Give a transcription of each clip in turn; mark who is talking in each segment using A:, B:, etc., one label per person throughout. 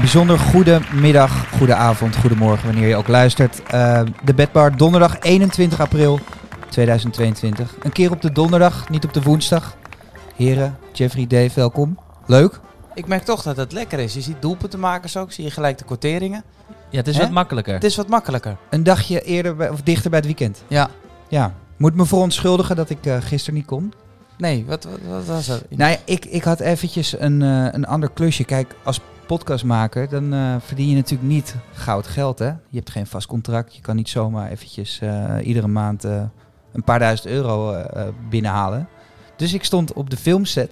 A: bijzonder goede middag, goede avond, goedemorgen, wanneer je ook luistert. Eh, de Bedbar, donderdag 21 april 2022. Een keer op de donderdag, niet op de woensdag. Heren, Jeffrey, Dave, welkom. Leuk.
B: Ik merk toch dat het lekker is. Je ziet doelpuntenmakers ook, zie je gelijk de kwarteringen.
C: Ja, het is
B: Hè?
C: wat makkelijker.
B: Het is wat makkelijker.
A: Een dagje eerder bij- of dichter bij het weekend.
B: Ja.
A: Ja. Moet me verontschuldigen dat ik eh gisteren niet kon.
B: Nee, wat, wat, wat was dat?
A: Nou ja, ik, ik had eventjes een, eh, een ander klusje. Kijk, als podcastmaker, dan eh, verdien je natuurlijk niet goud geld, hè? Je hebt geen vast contract. Je kan niet zomaar eventjes eh, iedere maand eh, een paar duizend euro eh, eh, binnenhalen. Dus ik stond op de filmset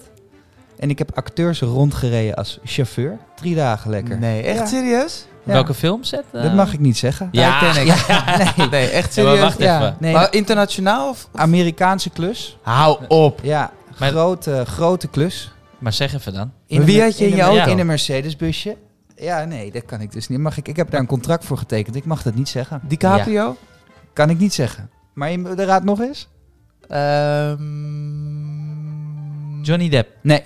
A: en ik heb acteurs rondgereden als chauffeur. Drie dagen lekker.
B: Nee, echt
A: Ja.
B: serieus?
A: Ja.
C: Welke filmset? eh?
A: Dat mag ik niet zeggen.
C: Ja,
B: Titanic.
A: Nee.
B: Nee, echt
C: Ja, maar
B: serieus?
C: wacht
A: Ja,
C: even.
A: nee,
B: Maar internationaal of?
A: Amerikaanse klus.
B: Hou op.
A: Ja,
C: Maar-
A: grote, grote klus.
C: Maar zeg even dan.
A: een
B: Wie
A: mer-
B: had je in
A: een
B: je
A: mer-
C: auto?
A: In een Mercedes-busje. Ja, nee, dat kan ik dus niet. Mag ik, ik heb daar een contract voor getekend. Ik mag dat niet zeggen.
B: DiCaprio?
A: Kan ik niet zeggen. Maar je, de raad nog eens?
B: Ehm,
C: Johnny Depp.
A: Nee.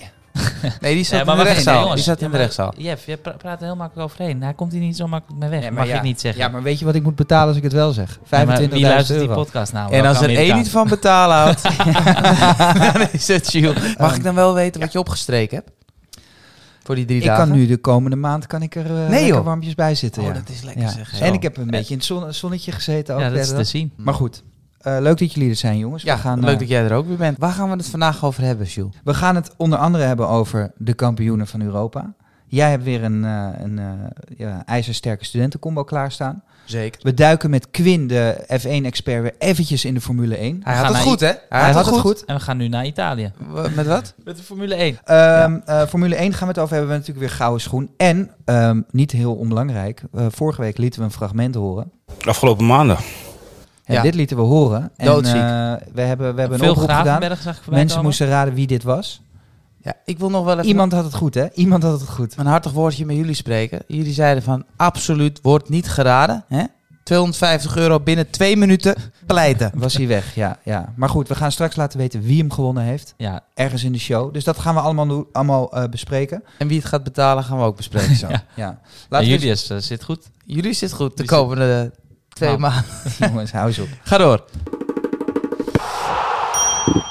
B: Nee, die zat
C: Nee, maar
B: in de
C: wacht even,
B: rechtszaal.
C: jongens.
B: Die zat
C: Ja,
B: in de
C: maar-
B: rechtszaal.
C: Jeff, je pra- praat er heel makkelijk overheen. Daar komt hij niet zo makkelijk mee weg.
A: Nee, maar
C: mag
A: ja.
C: ik niet zeggen.
A: Ja, maar weet je wat ik moet betalen als ik het wel zeg? 25.000
C: Nee, maar Wie luistert
A: euro.
C: die podcast nou?
B: En als er één niet van betalen houdt, dan is het Jules. Mag
A: Ehm,
B: ik dan wel weten wat je opgestreken hebt? Voor die drie
A: ik
B: dagen?
A: kan nu de komende maand kan ik er eh lekker
B: joh.
A: warmpjes bij zitten.
B: Oh,
A: ja.
B: dat is lekker
A: Ja.
B: zeg.
A: En
B: Zo.
A: ik heb een beetje in het zon- zonnetje gezeten. Ook
C: Ja, dat
A: de
C: is dus-
A: hele
C: te
A: dag.
C: zien.
A: Maar goed, Eh, leuk dat jullie er zijn jongens.
B: Ja,
A: we, gaan,
B: leuk
A: eh,
B: dat jij er ook weer bent. Waar gaan we het vandaag over hebben, Jules?
A: we gaan het onder andere hebben over de kampioenen van Europa. Jij hebt weer een, eh, een eh, ja, ijzersterke studentencombo klaarstaan.
B: Zeker.
A: We duiken met Quinn, de F1-expert, weer eventjes in de Formule 1.
B: Hij
C: We
B: had
C: gaan
B: het
C: naar
B: goed, hè? Hij,
A: Hij had het goed.
C: En we gaan nu naar Italië.
B: Wa- Met wat?
C: Met de Formule 1.
A: Ehm, eh, Formule 1 gaan we het over hebben. We hebben natuurlijk weer gouden schoen. En, ehm, niet heel onbelangrijk, eh, vorige week lieten we een fragment horen.
D: Afgelopen maanden.
A: En
B: Ja.
A: dit lieten we horen. En,
B: Doodziek.
A: eh, we hebben, we hebben een
C: Veel
A: oproep gedaan.
C: Gravenberg zag ik voorbij
A: Mensen
C: komen.
A: moesten raden wie dit was.
B: Ja, ik wil nog wel even
A: Iemand had het goed, hè? Iemand had het goed.
B: een hartig woordje met jullie spreken. Jullie zeiden van absoluut wordt niet geraden. Hè? 250 euro binnen twee minuten pleiten.
A: Was hij weg, ja, ja. Maar goed, we gaan straks laten weten wie hem gewonnen heeft.
C: Ja,
A: Ergens in de show. Dus dat gaan we allemaal, doen- allemaal eh, bespreken.
B: En wie het gaat betalen gaan we ook bespreken zo.
A: Ja.
C: en
A: Laten we eens-
C: Julius eh, zit goed.
B: Jullie zit goed de
C: Jullie zit-
B: komende twee
C: Nou.
B: maanden.
A: Jongens, hou eens op.
B: Ga door.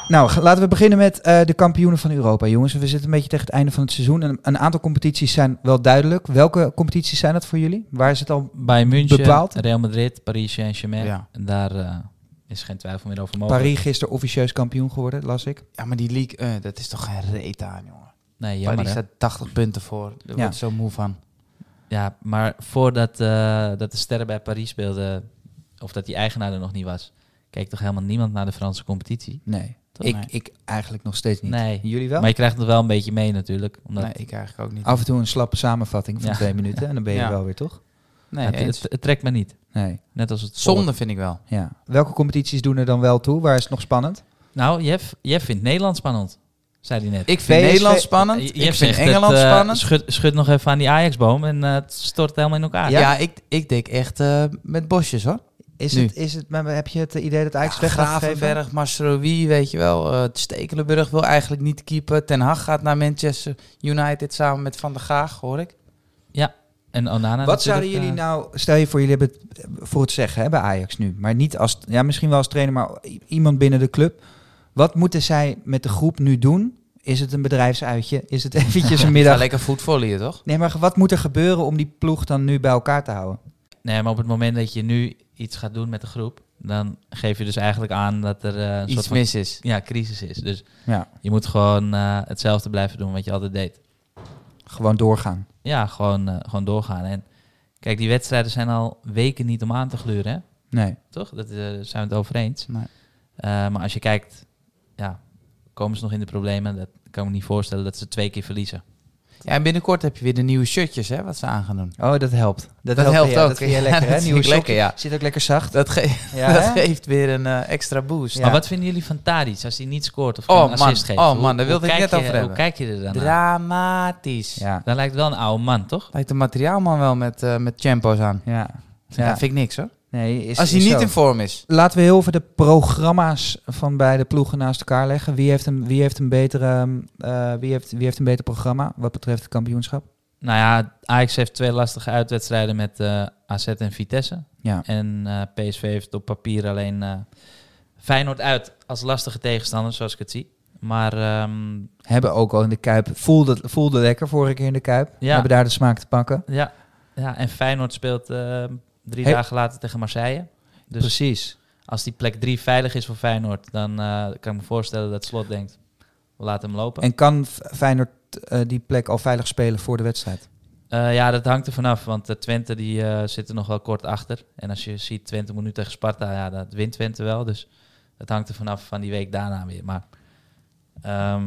A: Nou, g- laten we beginnen met eh, de kampioenen van Europa, jongens. We zitten een beetje tegen het einde van het seizoen. En een aantal competities zijn wel duidelijk. Welke competities zijn dat voor jullie? Waar is het al?
C: Bij München,
A: Bepaald.
C: Real Madrid, Paris Saint-Germain.
B: Ja.
C: En daar eh, is geen twijfel meer over mogelijk.
A: Paris gisteren officieus kampioen geworden, las ik.
B: Ja, maar die leak, eh, dat is toch geen reet aan, jongen.
C: Nee,
B: Paris
C: jammer hè.
B: staat 80 punten voor. Daar
A: Ja.
B: wordt zo moe van.
C: Ja, maar voordat eh, dat de sterren bij Paris speelden, of dat die eigenaar er nog niet was, keek toch helemaal niemand naar de Franse competitie?
A: Nee,
C: Toch?
A: ik,
B: Nee.
A: ik eigenlijk nog steeds niet.
C: Nee.
A: Jullie wel?
C: Maar je krijgt het wel een beetje mee natuurlijk. Omdat
B: Nee, ik eigenlijk ook niet.
A: Af en toe een slappe samenvatting van
C: Ja.
A: twee minuten. En dan ben je
B: Ja.
A: er wel weer, toch?
B: nee,
C: het,
B: eens.
C: het, het trekt me niet.
A: Nee.
C: Net als het volk.
B: zonde vind ik wel.
A: Ja. Welke competities doen er dan wel toe? Waar is het nog spannend?
C: Nou, Jeff, Jeff vindt Nederland spannend, zei hij net.
B: Ik vind
A: PSV
B: Nederland spannend.
C: Eh,
B: ik
C: Jeff
B: vind
C: zegt het,
B: Engeland
C: eh,
B: spannend.
C: Schud, schud nog even aan die Ajax-boom en eh, het stort helemaal in elkaar.
B: Ah, Ja, ik, ik denk echt eh, met bosjes hoor.
A: Is
B: Nu.
A: het, is het, maar heb je het idee dat Ajax weg gaat geven?
B: Gravenberg, Masrowi, weet je wel. eh, Stekelenburg wil eigenlijk niet keeper. Ten Hag gaat naar Manchester United samen met Van der Gaag, hoor ik.
C: En Onana
A: Wat zouden
C: natuurlijk,
A: jullie
C: eh,
A: nou, stel je voor, jullie hebben het voor het zeggen hè, bij Ajax nu, maar niet als, ja, misschien wel als trainer, maar i- iemand binnen de club. Wat moeten zij met de groep nu doen? Is het een bedrijfsuitje? Is het eventjes een
B: Ga
A: middag?
B: lekker voetvolleyen, toch?
A: Nee, maar wat moet er gebeuren om die ploeg dan nu bij elkaar te houden?
C: Nee, maar op het moment dat je nu iets gaat doen met de groep, dan geef je dus eigenlijk aan dat er eh, een soort
B: Iets
C: van
B: mis is.
C: ja, crisis is. Dus
A: Ja,
C: je moet gewoon eh, hetzelfde blijven doen wat je altijd deed.
A: gewoon doorgaan.
C: ja, gewoon, eh, gewoon doorgaan. En kijk, die wedstrijden zijn al weken niet om aan te gluren, hè?
A: Nee.
C: toch? Dat eh, zijn we het over eens.
B: Nee.
C: Eh, maar als je kijkt, ja, komen ze nog in de problemen? Dat kan ik me niet voorstellen dat ze twee keer verliezen.
B: Ja, en binnenkort heb je weer de nieuwe shirtjes, hè, wat ze aan gaan doen.
A: Oh, dat helpt. Dat,
B: helpt
A: ja,
B: ook.
A: Dat vind je
B: Ja,
A: lekker, hè?
B: dat
A: Nieuwe
B: vind ik lekker,
A: sokjes.
B: ja.
A: Zit ook lekker zacht.
B: Dat, ge-
A: Ja,
B: dat
A: hè?
B: geeft weer een eh, extra boost.
A: Ja.
C: Maar wat vinden jullie van Tadic als hij niet scoort of
B: Oh,
C: geen
B: man.
C: assist geeft?
B: Oh,
C: Hoe-
B: man, daar
C: hoe
B: wilde ik
C: kijk
B: net over
C: je,
B: hebben.
C: Hoe kijk je er dan naar?
B: Dramatisch.
A: Ja,
C: Dan lijkt het wel een oude man, toch?
B: Lijkt de materiaalman wel met, eh met champo's aan.
A: ja.
B: Ja.
A: Ja.
B: vind ik niks hoor.
A: Nee, is,
B: Als hij
A: is
B: niet
A: zo.
B: in vorm is.
A: Laten we heel even de programma's van beide ploegen naast elkaar leggen. Wie heeft een, wie heeft een, betere, ehm, eh, wie heeft, wie heeft een beter programma wat betreft het kampioenschap?
C: Nou ja, Ajax heeft twee lastige uitwedstrijden met eh, AZ en Vitesse.
A: Ja.
C: En eh, PSV heeft op papier alleen eh, Feyenoord uit als lastige tegenstander, zoals ik het zie. Maar ehm,
A: Hebben ook al in de Kuip. Voelde, voelde lekker vorige keer in de Kuip.
C: Ja.
A: Hebben daar de smaak te pakken.
C: ja, ja, en Feyenoord speelt eh, drie
A: Hey.
C: dagen later tegen Marseille. Dus
A: Precies.
C: als die plek drie veilig is voor Feyenoord, dan eh, kan ik me voorstellen dat Slot denkt, we laten hem lopen.
A: En kan F- Feyenoord eh, die plek al veilig spelen voor de wedstrijd?
C: Eh, ja, dat hangt er vanaf, want eh, Twente die, eh, zit er nog wel kort achter. En als je ziet Twente moet nu tegen Sparta, ja, dat wint Twente wel. Dus dat hangt er vanaf van die week daarna weer. Maar ehm,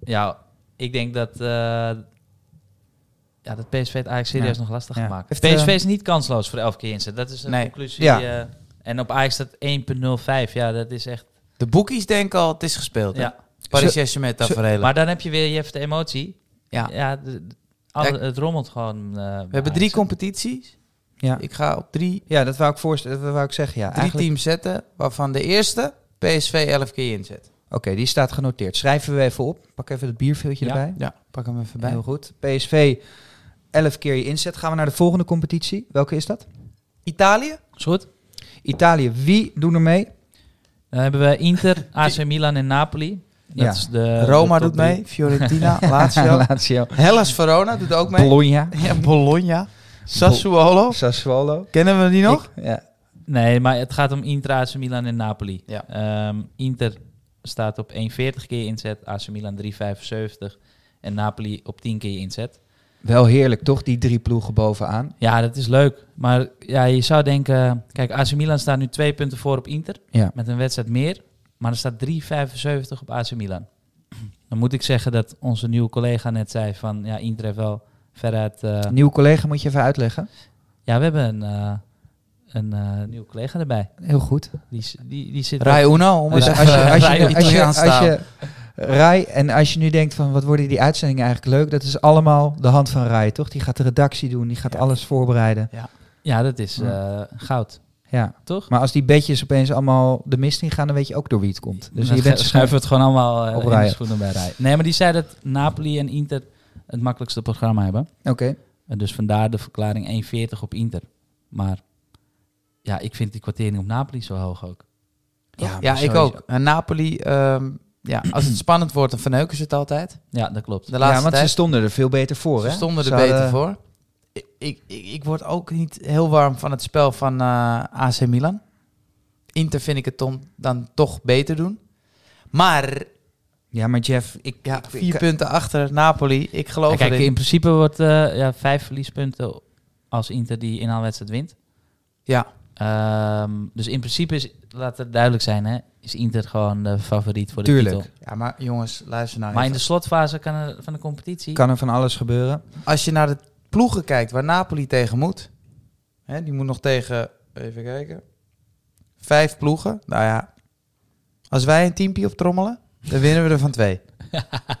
C: ja, ik denk dat, eh, ja, dat PSV het eigenlijk serieus
A: Ja.
C: nog lastig
A: Ja.
C: gaat maken.
A: Heeft,
C: PSV
A: eh,
C: is niet kansloos voor elf keer inzet. Dat is de
A: Nee.
C: conclusie.
A: Ja.
C: eh, en op Ajax staat 1.05. Ja, dat is echt...
B: De boekies denken al, het is gespeeld. hè?
C: Ja.
B: Paris Saint-Germain tafereel.
C: Maar dan heb je weer je hebt de emotie.
B: Ja.
C: de- de- alle- het rommelt gewoon. eh,
B: We
C: bij
B: hebben drie
C: Ajax.
B: competities.
A: Ja.
B: Ik ga op drie, drie
A: Ja, dat wou ik, voorstellen, dat wou ik zeggen. Ja, eigenlijk.
B: teams zetten, waarvan de eerste PSV 11 keer inzet.
A: Oké, die staat genoteerd. Schrijven we even op. Pak even het bierveeltje
C: Ja.
A: erbij.
B: Ja, pak hem even bij.
A: Heel goed. PSV, 11 keer je inzet. Gaan we naar de volgende competitie. Welke is dat?
B: Italië?
C: Is goed.
A: Italië. Wie doen er mee?
C: Dan hebben we Inter, AC Milan en Napoli. Dat
A: Ja.
C: is de,
B: Roma
C: Eh, de top
B: doet mee,
C: drie.
B: Fiorentina, Lazio.
A: Lazio.
B: Hellas Verona doet ook mee.
A: Bologna.
B: ja, Bologna. Sassuolo.
A: Sassuolo.
B: Kennen we die nog?
A: Ik- ja.
C: Nee, maar het gaat om Inter, AC Milan en Napoli.
B: Ja.
C: Ehm, Inter staat op 1,40 keer inzet, AC Milan 3,75 en Napoli op 10 keer inzet.
A: Wel heerlijk, toch? Die drie ploegen bovenaan.
C: Ja, dat is leuk. Maar ja, je zou denken, kijk, AC Milan staat nu twee punten voor op Inter
A: Ja.
C: met een wedstrijd meer, maar er staat 3,75 op AC Milan. Dan moet ik zeggen dat onze nieuwe collega net zei van, ja, Inter heeft wel veruit... eh,
A: Nieuw collega moet je even uitleggen.
C: Ja, we hebben een, eh, een eh, nieuwe collega erbij.
A: Heel goed.
C: Die, s- die, die zit.
B: Rai Uno, om
A: Dus
B: het
A: als
B: even-
A: je, als je, als
B: Rai
A: je, als je,
B: Italiaans
A: als
B: taal.
A: je Rai, en als je nu denkt van wat worden die uitzendingen eigenlijk leuk, dat is allemaal de hand van Rai, toch? Die gaat de redactie doen, die gaat alles voorbereiden.
C: Ja, dat is eh, goud,
A: Ja.
C: toch?
A: Maar als die bedjes opeens allemaal de mist in gaan, dan weet je ook door wie het komt. Dus
C: Dan
A: je
C: schu-
A: bent
C: schuiven we het gewoon allemaal eh,
A: op
C: in de
A: Rai.
C: schoenen bij Rai. Nee, maar die zei dat Napoli en Inter het makkelijkste programma hebben.
A: Oké.
C: En dus vandaar de verklaring 1,40 op Inter. Maar ja, ik vind die kwartering op Napoli zo hoog ook.
A: Ja,
B: Ja,
A: maar
B: ik
A: sowieso.
B: ook. En Napoli, ehm, ja, als het spannend wordt, dan verneuken ze het altijd.
C: Ja, dat klopt.
B: De
A: Ja,
B: laatste
A: want
B: tijd.
A: ze stonden er veel beter voor.
B: Ze
A: hè?
B: stonden er
A: hadden-
B: beter voor. Ik, ik, ik ik word ook niet heel warm van het spel van eh, AC Milan. Inter vind ik het dan, dan toch beter doen. Maar
A: Ja, maar Jeff, ik,
B: ja,
A: ik-
B: vier
A: ik-
B: punten achter Napoli. Ik geloof
C: Ja, kijk,
B: erin.
C: in principe wordt eh, ja, vijf verliespunten als Inter die inhaalwedstrijd wint.
B: Ja.
C: Ehm, dus in principe is, laat het duidelijk zijn, hè, is Inter gewoon de favoriet voor de
A: Tuurlijk.
C: titel.
B: ja, maar jongens, luister nou
C: Maar in
B: even.
C: de slotfase kan er, van de competitie.
A: kan er van alles gebeuren.
B: Als je naar de ploegen kijkt waar Napoli tegen moet. Hè, die moet nog tegen, even kijken. Vijf ploegen. Nou ja, als wij een teampje optrommelen, dan winnen we er van twee.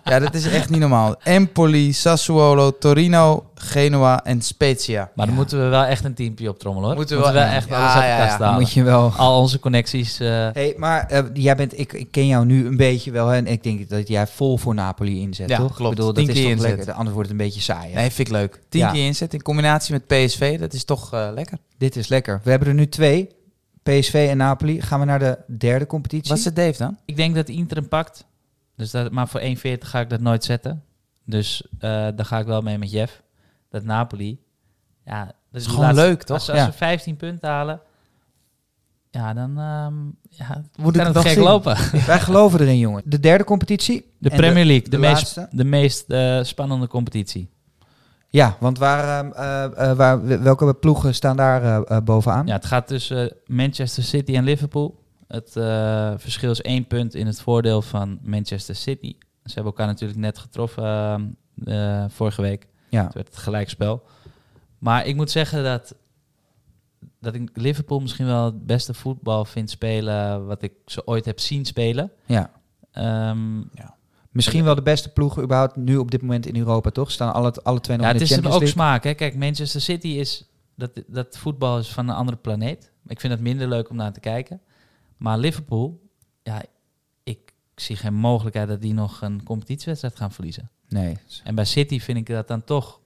B: ja, dat is echt niet normaal. Empoli, Sassuolo, Torino, Genoa en Spezia.
C: Maar dan
A: Ja.
C: moeten we wel echt een teampje optrommelen hoor.
B: Moeten we
C: moeten we
B: wel-
C: echt
B: Ja,
C: alles uit
B: ja,
C: de
B: ja.
C: kast
A: Dan
C: halen.
A: moet je wel...
C: Al onze connecties. eh,
A: Hey, maar eh, jij bent, ik, ik ken jou nu een beetje wel hè, en ik denk dat jij vol voor Napoli inzet,
B: Ja,
A: toch?
B: klopt.
A: Ik bedoel,
B: Tien
A: dat is
B: keer
A: toch
B: inzet.
A: lekker. De Anders wordt het een beetje saai. hè?
B: Nee, vind ik leuk. Tien
A: Ja.
B: keer inzet in combinatie met PSV, dat is toch eh, lekker.
A: Dit is lekker. We hebben er nu twee. PSV en Napoli. Gaan we naar de derde competitie?
B: Wat zit Dave dan?
C: ik denk dat Inter hem pakt. Dus dat, maar voor 1,40 ga ik dat nooit zetten. Dus eh, daar ga ik wel mee met Jeff. Dat Napoli. Ja, dat
B: Dat is
C: die
B: gewoon
C: laatste-
B: leuk, toch?
C: Als, als
A: Ja.
C: ze 15 punten halen. Ja, dan ehm, ja,
B: Moet
C: kan het gek lopen.
A: Wij geloven erin, jongen. De derde competitie.
C: De
A: En
C: Premier League, de,
A: de
C: meest,
A: laatste.
C: de meest eh, spannende competitie.
A: Ja, want waar, ehm, eh, eh, waar, welke ploegen staan daar eh, eh, bovenaan?
C: Ja, het gaat tussen eh, Manchester City en Liverpool. Het eh, verschil is één punt in het voordeel van Manchester City. Ze hebben elkaar natuurlijk net getroffen ehm, eh, vorige week.
A: Ja.
C: Het werd het gelijkspel. Maar ik moet zeggen dat, dat ik Liverpool misschien wel het beste voetbal vind spelen... wat ik ze ooit heb zien spelen.
A: Ja.
C: Ehm,
A: Misschien wel de beste ploegen überhaupt nu op dit moment in Europa, toch? Staan alle, alle twee nog
C: ja,
A: in
C: het
A: de
C: is hem
A: Champions
C: ook
A: League.
C: smaak. Hè? Kijk, Manchester City is dat, dat voetbal is van een andere planeet. Ik vind het minder leuk om naar te kijken. Maar Liverpool, ja, ik zie geen mogelijkheid dat die nog een competitiewedstrijd gaan verliezen.
A: Nee.
C: En bij City vind ik dat dan toch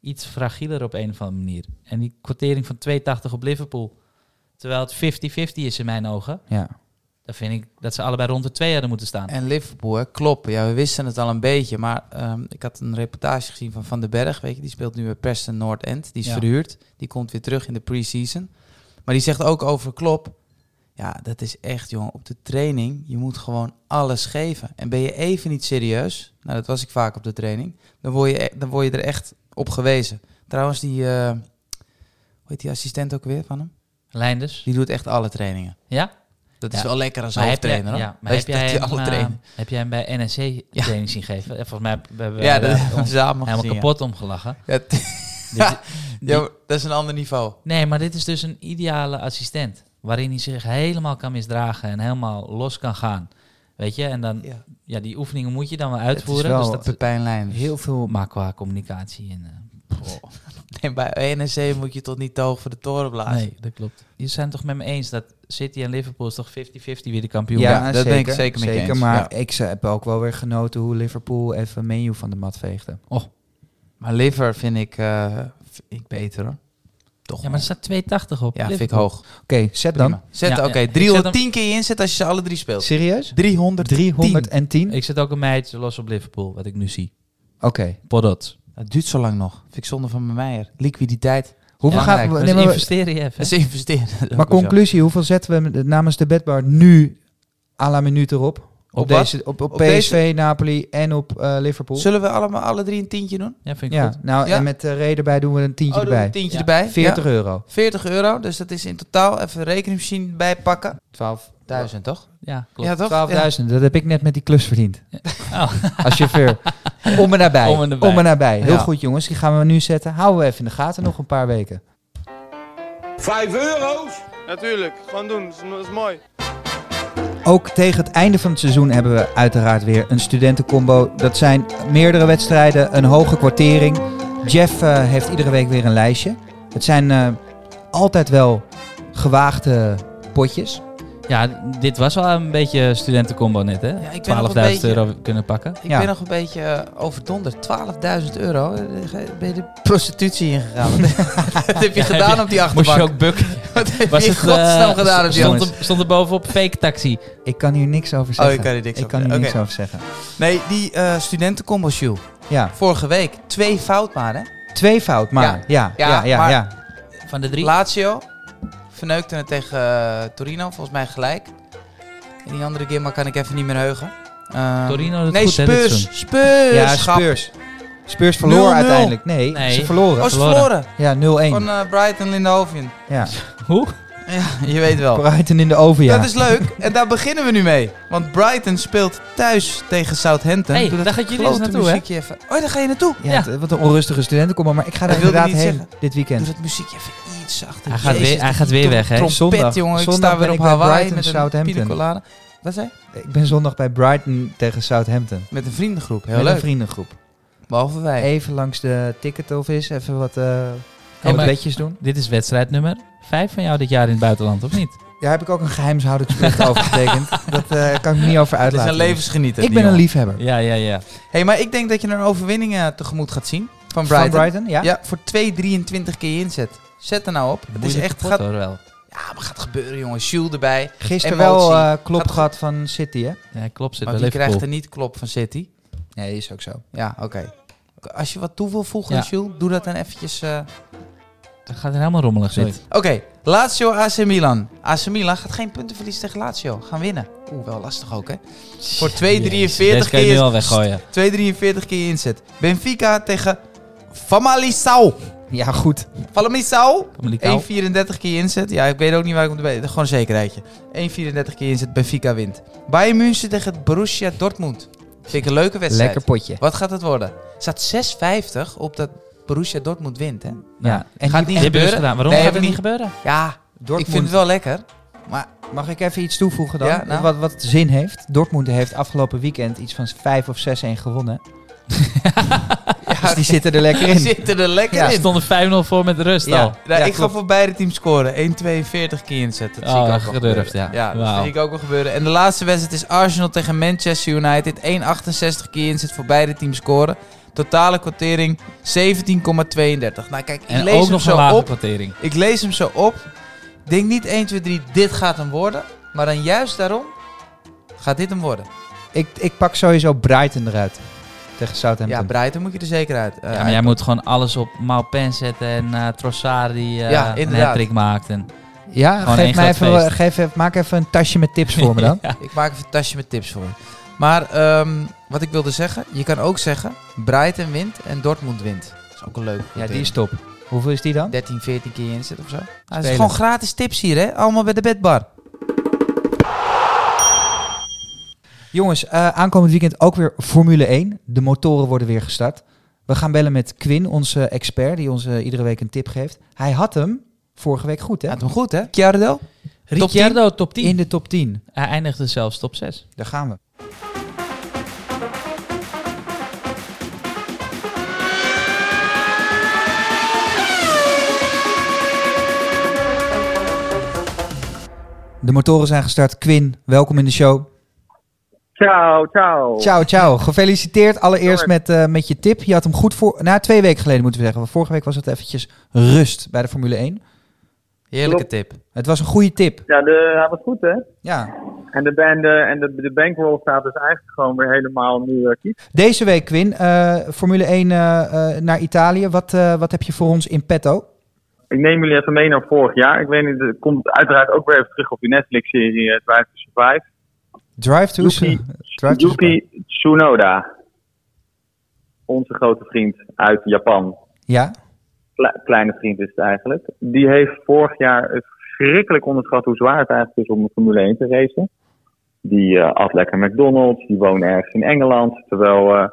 C: iets fragieler op een of andere manier. En die kwartering van 2,80 op Liverpool, terwijl het 50-50 is in mijn ogen,
A: Ja.
C: dan vind ik dat ze allebei rond de 2 hadden moeten staan.
B: En Liverpool, hè, klopt. Ja, we wisten het al een beetje. Maar ehm, ik had een reportage gezien van Van den Berg. Weet je, die speelt nu bij Preston North End. Die is
C: Ja.
B: verhuurd. Die komt weer terug in de pre-season. Maar die zegt ook over Klopp. Ja, dat is echt, jongen. Op de training, je moet gewoon alles geven. En ben je even niet serieus, nou dat was ik vaak op de training, dan word je, e- dan word je er echt op gewezen. Trouwens, die, eh hoe heet die assistent ook weer van hem?
C: Leinders,
B: Die doet echt alle trainingen.
C: ja?
B: Dat
C: Ja.
B: is wel lekker als
C: Maar heb jij,
B: hoofdtrainer, hoor.
C: ja, maar
B: Hij
C: heb
B: is
C: jij,
B: dat hij
C: hem,
B: alle
C: eh,
B: trainen.
C: heb jij hem bij NEC
B: Ja.
C: training zien geven? Eh, Volgens mij hebben we
B: Ja,
C: eh,
B: dat hebben we
C: ons
B: samen
C: helemaal
B: gezien, ja.
C: kapot omgelachen.
B: Ja, t-
C: Dus die-
B: Ja, maar dat is een ander niveau.
C: Nee, maar dit is dus een ideale assistent. Waarin hij zich helemaal kan misdragen en helemaal los kan gaan. Weet je, en dan, ja,
B: Ja.
C: die oefeningen moet je dan wel uitvoeren.
A: wel
C: dus dat,
B: Pepijn Lijn.
A: Heel veel
C: maar qua communicatie en...
B: Ah,
C: eh,
B: Nee, bij NEC moet je tot niet te hoog voor de toren blazen.
C: nee, dat klopt. Je zijn toch met me eens dat City en Liverpool is toch 50-50 weer de kampioen?
B: Ja,
C: worden?
B: dat ben ik zeker met je eens,
A: Maar
B: ja.
A: ik ze- heb ook wel weer genoten hoe Liverpool even menu van de mat veegde.
B: Maar Liver vind ik, eh, vind ik beter hoor. Toch?
C: Ja, maar er
B: wel.
C: staat 280 op.
B: ja vind ik
C: Liverpool.
B: hoog.
A: Oké, zet dan.
B: Prima. Zet,
C: Ja,
B: oké,
C: ja. Ik zet
B: 310 keer je inzet als je ze alle drie speelt.
A: Serieus?
B: 300.
A: 310?
C: Ik zet ook een meid los op Liverpool, wat ik nu zie.
A: Oké.
C: Podot.
B: Dat duurt zo lang nog. Vind ik zonde van mijn meier. Liquiditeit.
A: Hoeveel
B: Ja,
A: gaan
B: belangrijk.
A: we...
C: Dus
A: nee, maar, we-
C: investeer je even.
B: Dat is investeren. Dat is
A: maar
B: ook wel zo.
A: conclusie, hoeveel zetten we met- namens de bedbar nu à la minuut erop? Op,
B: Op wat?
A: deze, op, op,
B: Op
A: PSV,
B: deze?
A: Napoli en op eh, Liverpool?
B: Zullen we allemaal alle drie een tientje doen?
C: Ja, vind ik
A: ja,
C: goed.
A: nou
B: Ja.
A: en met de reden bij doen we een tientje
B: oh, doen we
A: erbij.
B: een tientje
C: Ja.
B: erbij.
A: 40
B: Ja.
A: euro.
B: 40 euro. Dus dat is in totaal even een rekenmachine bijpakken.
A: 12.000.
B: 1000 toch?
C: Ja, klopt.
B: Ja, toch?
A: 12.000, dat heb ik net met die klus verdiend.
C: Oh.
A: Als chauffeur. Om en nabij.
C: Om en nabij.
A: nabij. Heel
B: Ja.
A: goed jongens, die gaan we nu zetten. Houden we even in de gaten nog een paar weken.
D: Vijf euro's?
E: Natuurlijk, gewoon doen, dat is, dat is mooi.
A: Ook tegen het einde van het seizoen hebben we uiteraard weer een studentencombo. Dat zijn meerdere wedstrijden, een hoge kwartering. Jeff eh, heeft iedere week weer een lijstje. Het zijn eh, altijd wel gewaagde potjes.
C: Ja, dit was wel een beetje studentencombo net, hè?
B: Ja, ik ben nog een
C: 12.000
B: beetje-
C: euro kunnen pakken.
B: Ik
A: Ja.
B: ben nog een beetje eh, overdonderd. 12.000 euro. Eh, Ben je de prostitutie ingegaan? Wat heb je gedaan op die achterbank?
C: Moest je ook bukken?
B: Wat heb
C: Was
B: je in
C: het,
B: godsnaam
C: eh,
B: gedaan op die
C: stond,
B: achterbank?
C: er, stond er bovenop fake taxi.
A: Ik kan hier niks over
B: Oh,
A: zeggen.
B: ik kan hier niks
A: ik
B: over
A: kan hier
B: zeggen.
A: niks
B: Oké.
A: over zeggen.
B: Nee, die eh studentencombo shoe.
A: Ja,
B: Vorige week. Twee fout maar, hè?
A: twee fout, maar ja, ja,
B: Ja,
A: ja, ja.
B: maar-
C: Van de drie?
B: Lazio. Verneukte het tegen eh, Torino. Volgens mij gelijk. En die andere keer maar kan ik even niet meer heugen. Ehm,
C: Torino doet het
B: Nee,
C: goed, hè, dit
B: Spurs.
C: seizoen.
B: Spurs.
A: Ja,
B: grap.
A: Speurs. Speurs verloor
B: 0-0.
A: uiteindelijk. Nee,
C: Nee.
A: ze verloren.
B: Oh, ze
C: Verloren.
B: verloren.
A: Ja, 0-1.
B: Van eh, Brighton Lindenhoven.
A: ja.
C: Hoe?
B: Ja, je weet wel.
A: Brighton in de overjaar.
B: Dat is leuk. En daar beginnen we nu mee. Want Brighton speelt thuis tegen Southampton.
C: Hey,
B: Doe dat
C: daar gaat jullie eens
B: grote
C: naartoe, hè?
B: muziekje even. Oh, daar ga je naartoe.
A: Ja,
C: Ja.
A: het- wat een onrustige studentenkomma, maar ik ga daar
B: Dat wilde
A: inderdaad
B: ik
A: heen
B: niet
A: dit
B: Doe
A: weekend.
B: dat muziekje even iets zachter.
C: Hij gaat
B: Jezus,
C: weer, hij
B: die
C: gaat weer weg, hè?
B: Trompet,
A: Zondag.
B: jongen. Ik
A: Zondag
B: sta weer
A: ben
B: op
A: ik bij
B: Hawaii
A: Brighton,
B: met een
A: Southampton.
B: pina colada. Wat zei je?
A: Ik ben zondag bij Brighton tegen Southampton.
B: Met een vriendengroep. Dus- Heel
A: Met een
B: leuk.
A: vriendengroep.
B: Behalve wij.
A: Even langs de ticket of is, even wat, eh
C: maar-
A: wat bedjes doen.
C: Dit is wedstrijd nummer vijf van jou dit jaar in het buitenland, of niet?
A: Daar heb ik ook een geheimshoudingsplicht over getekend. Dat eh, kan ik niet over
B: Het is
A: uitlaten.
B: een levensgenieter.
A: ik
B: die
A: ben een
B: jongen.
A: liefhebber.
C: Ja, ja, ja.
B: hey, maar ik denk dat je een overwinning eh, tegemoet gaat zien.
A: Van
B: Van Brighton.
A: Brighton, ja?
B: Ja, voor 2,23 keer je inzet. Zet er nou op. Het is
C: Moeilijke
B: echt...
C: pot,
B: Gaat,
C: hoor, wel.
B: ja, maar gaat gebeuren, jongen. Jules erbij.
A: Gisteren
B: Emotie.
A: wel eh klop
B: Gaat-
A: gehad van City, hè?
C: Ja, klopt. Zit
B: Maar
C: bij
B: Oh, die krijgt
C: Liverpool.
B: er niet klop van City.
A: Nee, is ook zo.
B: Ja, oké. Als je wat toe wil voegen,
C: Ja.
B: Jules, doe dat dan eventjes. eh.
C: Dat gaat er helemaal rommelig,
A: Sorry.
C: dit.
B: Oké, Lazio AC Milan. AC Milan gaat geen punten verliezen tegen Lazio. Gaan winnen. Oeh, wel lastig ook, hè? Voor 2,43
C: Jezus, Deze kan je nu
B: keer-
C: al weggooien.
B: 2,43 keer je inzet. Benfica tegen Famalisau.
A: Ja, goed.
B: Famalisau. 1,34
C: Famalicão.
B: keer je inzet. Ja, ik weet ook niet waar ik moet weten. Gewoon een zekerheidje. 1,34 keer je inzet. Benfica wint. Bayern München tegen Borussia Dortmund. Vind ik een leuke wedstrijd.
A: Lekker potje.
B: Wat gaat het worden? Er staat 6,50 op dat Borussia Dortmund wint, hè? Nou,
C: Ja.
A: En die-
B: Gaat niet
C: Dit hebben we dus
B: gebeuren.
C: gedaan. Waarom
B: Nee,
C: gaat
B: hebben
C: het
B: we
C: niet gebeuren?
B: Ja, ik vind
A: Dortmund.
B: het wel lekker. Maar
A: Mag ik even iets toevoegen dan?
B: Ja, nou.
A: wat, wat zin heeft. Dortmund heeft afgelopen weekend iets van 5 of 6-1 gewonnen. Dus die zitten er lekker
B: die
A: in.
B: zitten er lekker
C: Ja,
B: in.
C: stonden 5-0 voor met rust
A: Ja.
C: al.
B: Nou,
A: Ja,
B: ik ga
A: klopt.
B: voor beide teams scoren. 1,42 keer inzetten. Dat
C: Oh,
B: zie ik ook wel
C: gedurfd,
B: gebeuren.
C: ja.
B: dat
C: Wauw.
B: zie ik ook wel gebeuren. En de laatste wedstrijd is Arsenal tegen Manchester United. 1,68 keer inzet voor beide teams scoren. Totale kwartering 17,32. Nou kijk, ik
C: En
B: lees
C: ook
B: hem
C: nog een
B: zo
C: lage
B: op.
C: kwartering.
B: Ik lees hem zo op. Ik Denk niet 1, 2, 3, dit gaat hem worden. Maar dan juist daarom gaat dit hem worden.
A: Ik, ik pak sowieso Brighton eruit. Tegen
B: Ja,
A: Southampton.
B: Breiten moet je er zeker uit. eh,
C: Ja, maar jij moet gewoon alles op Malpen zetten en eh, Trossard die eh,
B: Ja,
C: een
B: inderdaad.
C: hat-trick maakt. En,
A: Ja,
C: Gewoon één
A: geef mij
C: groot
A: even,
C: feest.
A: geef, even- maak even een tasje met tips voor me dan.
B: Ik maak even een tasje met tips voor. je. Maar ehm, wat ik wilde zeggen, je kan ook zeggen: Brighton wint en Dortmund wint. Dat is ook een leuk.
A: Ja, die is top. Hoeveel is die dan?
B: 13, 14 keer inzet of zo. Nou, het is
A: Spelen.
B: gewoon gratis tips hier, hè? Allemaal bij de bedbar.
A: Jongens, eh, aankomend weekend ook weer Formule 1. De motoren worden weer gestart. We gaan bellen met Quinn, onze expert, die ons eh, iedere week een tip geeft. Hij had hem vorige week goed, hè?
B: Gaat hem goed, hè? Chiardo? Top
C: Ricciardo top 10.
A: In de top 10.
C: Hij eindigde zelfs top 6.
A: Daar gaan we. De motoren zijn gestart. Quinn, welkom in de show.
F: Ciao, ciao.
A: Ciao, ciao. Gefeliciteerd allereerst met, eh, met je tip. Je had hem goed voor... Nou, twee weken geleden moeten we zeggen. Want vorige week was het eventjes rust bij de Formule 1.
B: Heerlijke tip.
A: Het was een goede tip.
F: Ja, de, hij was goed, hè?
A: Ja.
F: En de, en de, en de, de bankroll staat dus eigenlijk gewoon weer helemaal nu eh, kiet.
A: Deze week, Quinn, eh, Formule 1 eh, eh, naar Italië. Wat, eh, wat heb je voor ons in petto?
F: Ik neem jullie even mee naar vorig jaar. Ik weet niet, het komt uiteraard ook weer even terug op die Netflix-serie eh, Drive to Survive.
A: Drive to...
F: Yuki-
A: Drive to
F: Yuki Tsunoda. Onze grote vriend uit Japan.
A: Ja,
F: Kle- kleine vriend is het eigenlijk. Die heeft vorig jaar het verschrikkelijk onderschat hoe zwaar het eigenlijk is om de Formule 1 te racen. Die eh at lekker McDonald's, die woont ergens in Engeland, terwijl eh,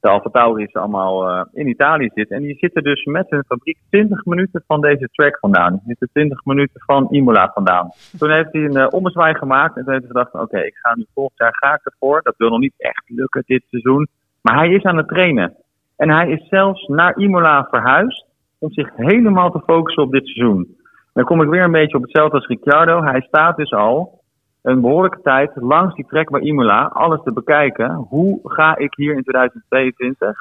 F: de Alfa Tauri's allemaal eh, in Italië zitten. En die zitten dus met hun fabriek 20 minuten van deze track vandaan. Die zitten 20 minuten van Imola vandaan. Toen heeft hij een eh, ommezwaai gemaakt en toen heeft hij gedacht, oké, ik ga nu volgend jaar ga ik ervoor. Dat wil nog niet echt lukken dit seizoen. Maar hij is aan het trainen. En hij is zelfs naar Imola verhuisd om zich helemaal te focussen op dit seizoen. Dan kom ik weer een beetje op hetzelfde als Ricciardo. Hij staat dus al een behoorlijke tijd langs die trek bij Imola alles te bekijken. Hoe ga ik hier in 2022 in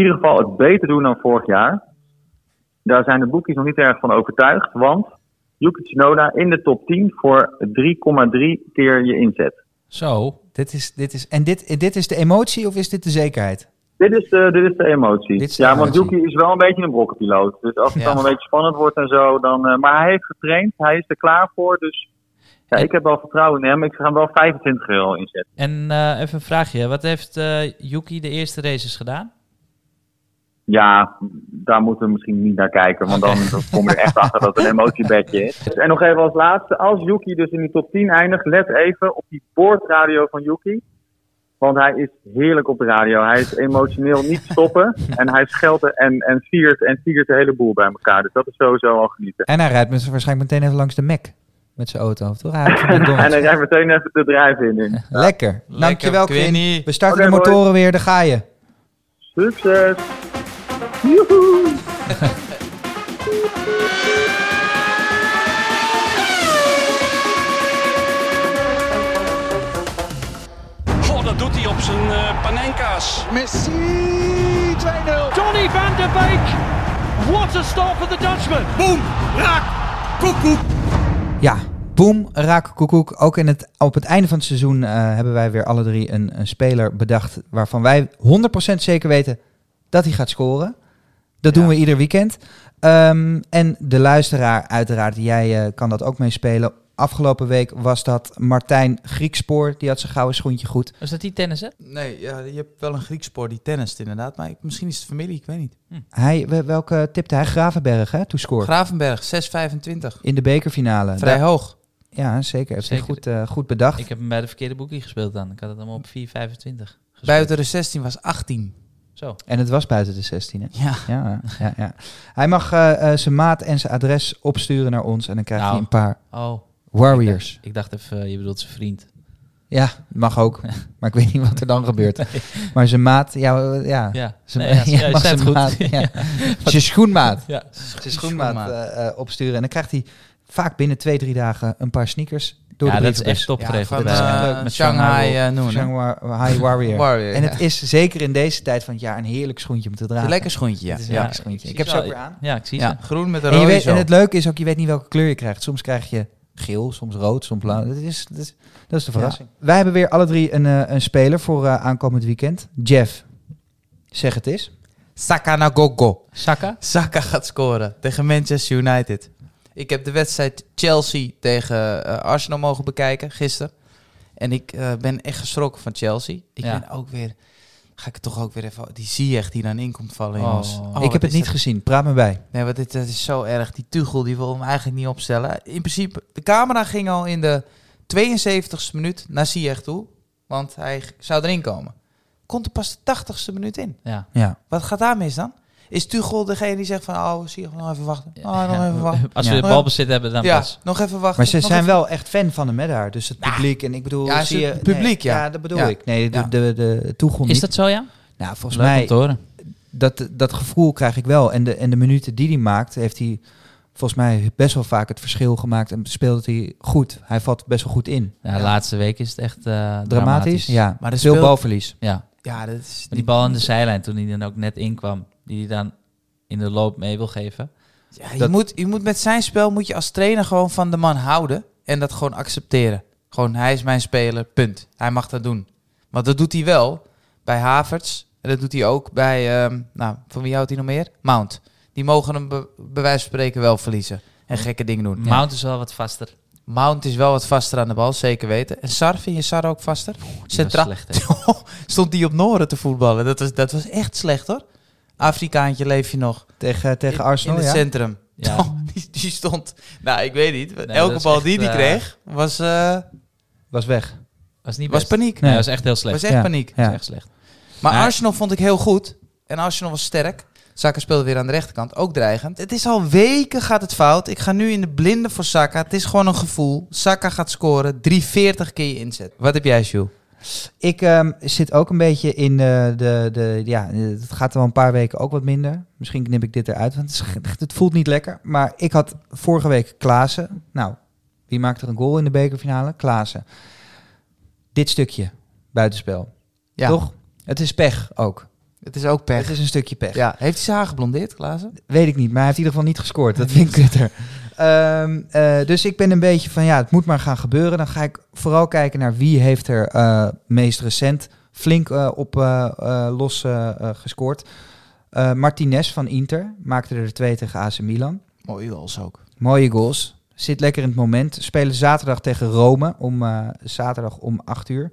F: ieder geval het beter doen dan vorig jaar? Daar zijn de boekjes nog niet erg van overtuigd, want Yuki Tsunoda in de top 10 voor 3,3 keer je inzet.
C: Zo.
A: dit is, dit is, en dit, dit is de emotie of is dit de zekerheid?
F: Dit is de, dit is de emotie.
A: Dit is de
F: ja, want
A: emotie.
F: Yuki is wel een beetje een brokkenpiloot. Dus als het
C: Ja.
F: allemaal een beetje spannend wordt en zo, dan... eh, maar hij heeft getraind, hij is er klaar voor, dus... Ja, ik heb wel vertrouwen in hem. Ik ga hem wel 25 euro inzetten.
C: En eh, even een vraagje. Wat heeft eh, Yuki de eerste races gedaan?
F: Ja, daar moeten we misschien niet naar kijken, want dan dan kom je er echt achter dat het een emotiebedje is. En nog even als laatste, als Yuki dus in die top 10 eindigt, let even op die boordradio van Yuki. Want hij is heerlijk op de radio. Hij is emotioneel niet stoppen. En hij scheldt en, en viert en viert de hele boel bij elkaar. Dus dat is sowieso al genieten.
A: En hij rijdt met, waarschijnlijk meteen even langs de Mac met zijn auto. Of toch? Hij rijdt van
F: En
A: McDonald's.
F: dan rijdt meteen even de drijfin in.
A: Lekker. Dankjewel, Quinn. We starten
F: Oké,
A: de
F: boys.
A: motoren weer, daar ga je.
F: Succes! Joehoe!
G: Goh, dat doet hij op zijn eh, panenka's.
H: Donny van de Beek. What a start for the Dutchman.
A: Ja, boem, raak, koekoek. Ook in het, op het einde van het seizoen eh, hebben wij weer alle drie een, een speler bedacht... waarvan wij 100% zeker weten dat hij gaat scoren. Dat doen we ieder weekend. Ehm, en de luisteraar, uiteraard, jij eh, kan dat ook meespelen. Afgelopen week was dat Martijn Griekspoor. Die had zijn gouden schoentje goed.
C: Was dat die tennissen?
B: Nee, ja, je hebt wel een Grieks spoor die tennist inderdaad. Maar ik- misschien is het familie, ik weet niet.
A: Hij, we- welke tipte hij? Gravenberg, hè? Toescore.
B: Gravenberg, 6,25.
A: in de bekerfinale.
B: Vrij
A: Da-
B: hoog.
A: ja, zeker. Heeft hij
C: Zeker.
A: goed, eh, goed bedacht.
C: Ik heb hem bij de verkeerde boekie gespeeld dan. Ik had het allemaal op 4,25 gespeeld.
B: Buiten de 16 was 18.
C: Zo.
A: En het was buiten de 16, hè?
B: Ja.
A: Ja, ja, ja. Hij mag eh, eh, zijn maat en zijn adres opsturen naar ons. En dan krijgt
C: Nou.
A: hij een paar
C: Oh,
A: Warriors.
C: ik dacht even, eh, je bedoelt zijn vriend.
A: Ja, mag ook. Maar ik weet niet wat er dan gebeurt. Maar zijn maat, ja, eh, ja.
C: Ja,
A: Zijn,
C: Nee, ja,
A: ja,
C: ja,
A: mag
C: zei
A: zijn
C: het
A: maat,
C: goed.
A: ja.
C: ja.
A: Zijn schoenmaat.
C: Ja.
A: eh, Zijn schoenmaat eh, eh, opsturen. En dan krijgt hij vaak binnen twee, drie dagen een paar sneakers. Door
C: ja,
A: de
C: dat is
A: brievenbus.
C: echt top geregeld.
B: van
A: dat is
C: Ja.
A: echt
B: eh,
A: leuk met
B: Shanghai
A: Shanghai,
B: eh, Noon, hè?
A: Shanghai High Warrior.
B: Warrior,
A: en
B: ja.
A: het is zeker in deze tijd van het jaar een heerlijk schoentje om te dragen.
B: Een lekker schoentje, ja.
A: Het is een
B: ja.
A: lekker schoentje.
C: ik
A: Ik heb
C: zie
A: ze ook
C: wel-
A: weer aan.
C: Ja, ik zie
B: Ja,
C: ze.
B: groen met een
A: En, je
B: rode
A: weet, en
B: zo.
A: het leuke is ook, je weet niet welke kleur je krijgt. Soms krijg je geel, soms rood, soms blauw. Dat is, dat is, dat is de verrassing. Wij hebben weer alle drie een, eh, een speler voor eh, aankomend weekend. Jeff, zeg het eens.
B: Saka na gogo.
C: Saka?
B: Saka gaat scoren tegen Manchester United. Ik heb de wedstrijd Chelsea tegen eh, Arsenal mogen bekijken gisteren. En ik eh, ben echt geschrokken van Chelsea. Ik
C: Ja.
B: ben ook weer... Ga ik het toch ook weer even... Die Ziyech die dan in komt vallen,
C: Oh.
B: jongens.
C: Ik
A: ik
B: wat
A: heb het
B: is
A: niet
B: dat-
A: gezien. Praat me bij.
B: Nee, want dit, dat is zo erg. Die Tuchel die wil hem eigenlijk niet opstellen. In principe, de camera ging al in de 72ste minuut naar Ziyech toe. Want hij g- zou erin komen. Komt er pas de 80ste minuut in.
C: Ja.
A: Ja.
B: Wat gaat daar mis dan? Is Tuchel degene die zegt van... Oh, Ziyech, nog even wachten. Oh, nog even wachten.
C: Als we
B: Ja.
C: de bal bezit hebben, dan
B: Ja,
C: pas.
B: nog even wachten.
A: Maar ze
B: nog
A: zijn
B: even-
A: wel echt fan van hem, hè, daar. Dus het publiek. En ik bedoel,
B: Ja,
A: zie
B: ze-
A: je...
B: het publiek,
A: nee,
B: ja.
A: dat bedoel
B: Ja.
A: ik. Nee, de,
B: Ja.
A: de, de, toegang
C: Is dat zo, ja?
A: Nou, volgens
C: Leuk om
A: mij...
C: te horen.
A: dat, dat gevoel krijg ik wel. En de, en de minuten die hij maakt, heeft hij volgens mij best wel vaak het verschil gemaakt. En speelt hij goed. Hij valt best wel goed in.
C: Ja, De laatste week is het echt eh, dramatisch.
A: Dramatisch. Ja,
B: Maar
A: maar
B: er
A: er veel
B: speelt-
A: balverlies.
C: Ja.
B: Ja, dat is...
C: Maar die bal aan de zijlijn, toen hij dan ook net inkwam, die hij dan in de loop mee wil geven.
B: Ja, je,
A: dat-
B: moet, je moet met zijn spel moet je als trainer gewoon van de man houden. En dat gewoon accepteren. Gewoon, hij is mijn speler, punt. Hij mag dat doen. Want dat doet hij wel bij Havertz. En dat doet hij ook bij, ehm, nou, van wie houdt hij nog meer? Mount. Die mogen hem be- bij wijze van spreken wel verliezen. En gekke dingen doen.
C: Mount is wel wat vaster. Die
B: Mount is wel wat vaster aan de bal, zeker weten. En Sar, vind je Sar ook vaster?
C: was
B: Centraal.
C: slecht, hè.
B: Stond hij op Noren te voetballen. Dat was, dat was echt slecht hoor. Afrikaantje leef je nog.
A: Tegen, tegen
B: In-
A: Arsenal,
B: In het
A: ja.
B: centrum.
C: Ja.
B: Oh, die, die stond... Nou, ik weet niet.
C: dat
B: Elke
C: is
B: bal
C: echt,
B: die die
C: eh,
B: kreeg was, eh,
A: Was weg.
C: Was niet
B: was
C: best.
B: paniek.
C: Nee, was echt heel slecht.
B: was echt
A: Ja.
B: paniek.
A: Ja.
C: Was echt slecht.
B: Maar
C: Maar-
B: Arsenal vond ik heel goed. En Arsenal was sterk. Saka speelde weer aan de rechterkant, ook dreigend. Het is al weken gaat het fout. Ik ga nu in de blinde voor Saka. Het is gewoon een gevoel. Saka gaat scoren. 3,40 keer je inzet. Wat heb jij, Jules?
A: Ik ehm, zit ook een beetje in eh, de, de... Ja, eh, het gaat al een paar weken ook wat minder. Misschien knip ik dit eruit, want het, is echt- het voelt niet lekker. Maar ik had vorige week Klaassen. Nou, wie maakt er een goal in de bekerfinale? Klaassen. Dit stukje, buitenspel.
B: Ja,
A: Toch? Het is pech ook.
B: het is ook pech.
A: Het is een stukje pech.
B: Ja. Heeft hij zijn haar geblondeerd, Klaassen?
A: Weet ik niet, maar hij heeft in ieder geval niet gescoord. Dat vind ik kutter. Ehm, eh, dus ik ben een beetje van, ja, het moet maar gaan gebeuren. Dan ga ik vooral kijken naar wie heeft er eh meest recent flink eh, op eh, eh, los eh, eh, gescoord. Eh Martinez van Inter maakte er twee tegen AC Milan.
B: Mooi goals ook.
A: Mooie goals. Zit lekker in het moment. Spelen zaterdag tegen Rome om eh, zaterdag om 8 uur.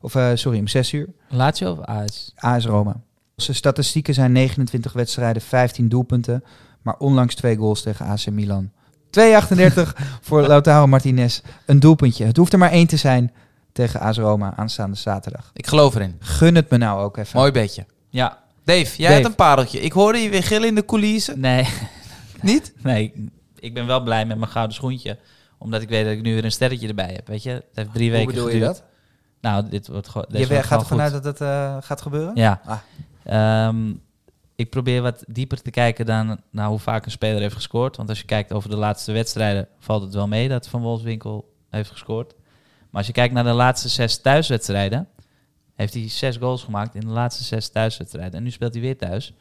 A: Of eh, sorry, om 6 uur.
C: Lazio of AS?
A: AS Roma. Zijn statistieken zijn 29 wedstrijden, 15 doelpunten, maar onlangs twee goals tegen AC Milan. 2,38 voor Lautaro Martinez. Een doelpuntje. Het hoeft er maar één te zijn tegen AS Roma aanstaande zaterdag.
B: Ik geloof erin.
A: Gun het me nou ook even.
B: Mooi beetje.
C: Ja.
B: Dave, jij
A: Dave.
B: had een pareltje. Ik hoorde je weer gillen in de coulissen.
C: Nee,
B: Niet?
C: nee. Ik ben wel blij met mijn gouden schoentje. Omdat ik weet dat ik nu weer een sterretje erbij heb. Weet je, het heeft drie weken
A: bedoel je
C: geduurd. Nou, dit wordt gewoon.
A: Je
C: deze wordt
A: gaat
C: gewoon
A: ervan
C: goed.
A: uit dat het eh, gaat gebeuren?
C: Ja.
A: Ah.
C: Ehm, ik probeer wat dieper te kijken dan naar hoe vaak een speler heeft gescoord. Want als je kijkt over de laatste wedstrijden, valt het wel mee dat Van Wolfswinkel heeft gescoord. Maar als je kijkt naar de laatste zes thuiswedstrijden, heeft hij zes goals gemaakt in de laatste zes thuiswedstrijden. En nu speelt hij weer thuis.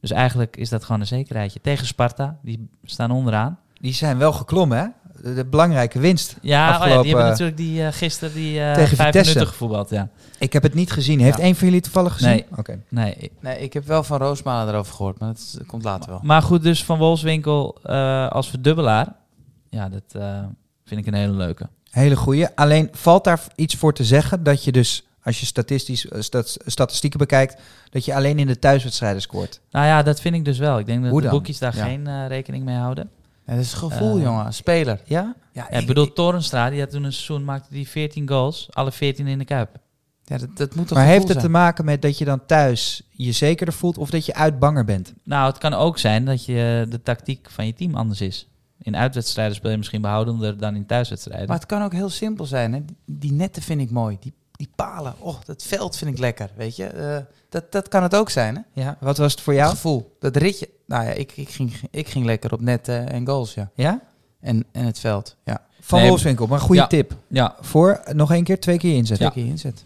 C: Dus eigenlijk is dat gewoon een zekerheidje. Tegen Sparta, die staan onderaan.
A: Die zijn wel geklommen, hè? De, de belangrijke winst.
C: Ja, oh ja
A: Afgelopen-
C: die hebben natuurlijk die, eh, gisteren die eh
A: Tegen
C: vijf
A: Vitesse.
C: minuten gevoetbald. Ja.
A: eh, Ik heb het niet gezien. Heeft
C: Ja.
A: één van jullie toevallig gezien?
C: Nee.
A: Oké.
C: Nee,
B: Nee, ik heb wel van Roosmalen erover gehoord, maar dat, is- dat komt later wel.
C: Maar goed, dus Van Wolfswinkel eh, als verdubbelaar. Ja, dat eh, vind ik een hele leuke.
A: Hele goeie. Alleen valt daar iets voor te zeggen dat je dus, als je statistisch, eh, stat- statistieken bekijkt, dat je alleen in de thuiswedstrijden scoort.
C: Nou ja, dat vind ik dus wel. Ik denk dat
A: Hoe
C: de
A: dan?
C: boekjes daar
A: Ja.
C: geen eh, rekening mee houden.
B: Ja, dat is een gevoel,
C: Eh,
B: jongen. Als speler.
A: Ja?
B: Ja,
C: Ja, ik bedoel, Torenstra, die had toen een seizoen, maakte die 14 goals. Alle 14 in de Kuip.
B: ja, dat, dat moet toch
A: Maar
B: gevoel
A: heeft het te
B: zijn?
A: maken met dat je dan thuis je zekerder voelt of dat je uit banger bent?
C: Nou, het kan ook zijn dat je eh, de tactiek van je team anders is. In uitwedstrijden speel je misschien behoudender dan in thuiswedstrijden.
B: Maar het kan ook heel simpel zijn. Hè? Die- Die netten vind ik mooi. Die, die palen. Oh, dat veld vind ik lekker, weet je. Eh, dat, dat kan het ook zijn, hè.
A: Ja. Wat was het voor
B: Het
A: jou?
B: gevoel. Dat ritje. Nou ja, ik, ik, ging, ik ging lekker op netten en goals, ja.
A: Ja?
B: en, en het veld. Ja,
A: Van
C: Nee,
A: Wolfswinkel, maar een goede
C: ja.
A: tip.
C: Ja,
A: Voor nog één keer twee keer inzetten.
B: twee keer inzet.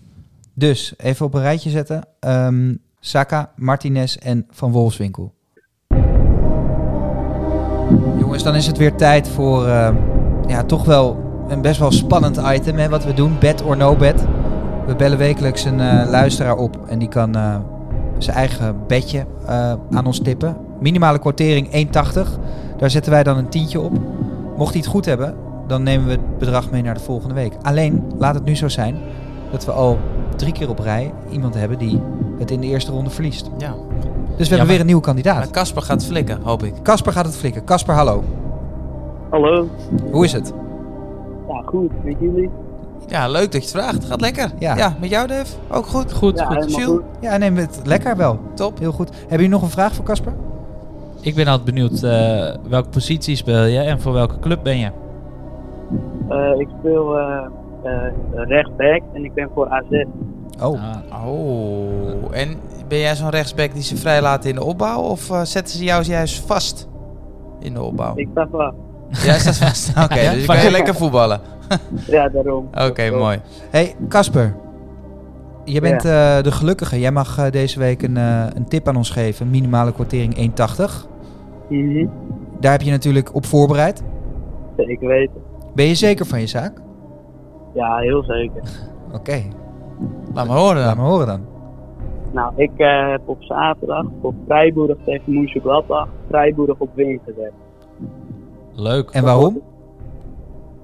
A: Dus even op een rijtje zetten. Ehm, Saka, Martinez en Van Wolfswinkel. Jongens, dan is het weer tijd voor ehm, ja, toch wel een best wel spannend item. Hè, wat we doen, bed or no bed. We bellen wekelijks een eh, luisteraar op en die kan eh, zijn eigen bedje eh, aan ons tippen. Minimale kwartering 1,80. Daar zetten wij dan een tientje op. Mocht hij het goed hebben, dan nemen we het bedrag mee naar de volgende week. Alleen, laat het nu zo zijn dat we al drie keer op rij iemand hebben die het in de eerste ronde verliest. Dus
B: Ja.
A: we hebben
C: maar-
A: weer een nieuwe
B: Maar
A: kandidaat.
B: Kasper gaat flikken, hoop ik.
A: Casper gaat het flikken. Casper, hallo.
I: Hallo.
A: Hoe is het?
I: Ja, goed. Met jullie?
B: Ja, leuk dat je het vraagt. Gaat lekker.
A: Ja.
B: met jou, Dave? Ook goed.
C: goed.
I: Ja,
C: goed.
I: helemaal
B: Jules?
I: goed.
A: Ja, neem het lekker wel.
B: Top.
A: Heel goed. Hebben jullie nog een vraag voor Casper?
C: Ik ben altijd benieuwd eh, welke positie speel je en voor welke club ben je.
A: Oh.
I: Eh, ik speel eh eh, rechtsback en ik ben voor AZ.
A: Oh,
C: Ah,
B: Oh, en ben jij zo'n rechtsback die ze vrij laten in de opbouw? Of eh, zetten ze jou juist vast in de opbouw?
I: Ik sta van.
B: Jij staat vast. Oké,
C: Ja,
B: dus je
C: van-
B: kan je lekker voetballen.
I: Ja, daarom.
B: Oké, mooi.
A: hey Casper. Je bent eh, de gelukkige. Jij mag eh, deze week een, eh, een tip aan ons geven. Minimale kwartering 1,80.
I: Mhm.
A: Daar heb je natuurlijk op voorbereid.
I: Zeker weten.
A: Ben je zeker van je zaak?
I: Ja, heel zeker.
A: Oké,
B: Laat maar horen
A: laat
B: dan.
A: me horen dan.
I: Nou, ik eh, heb op zaterdag voor Vrijboerig tegen Moesje Vrijboerig op win gezet.
C: leuk.
A: En waarom?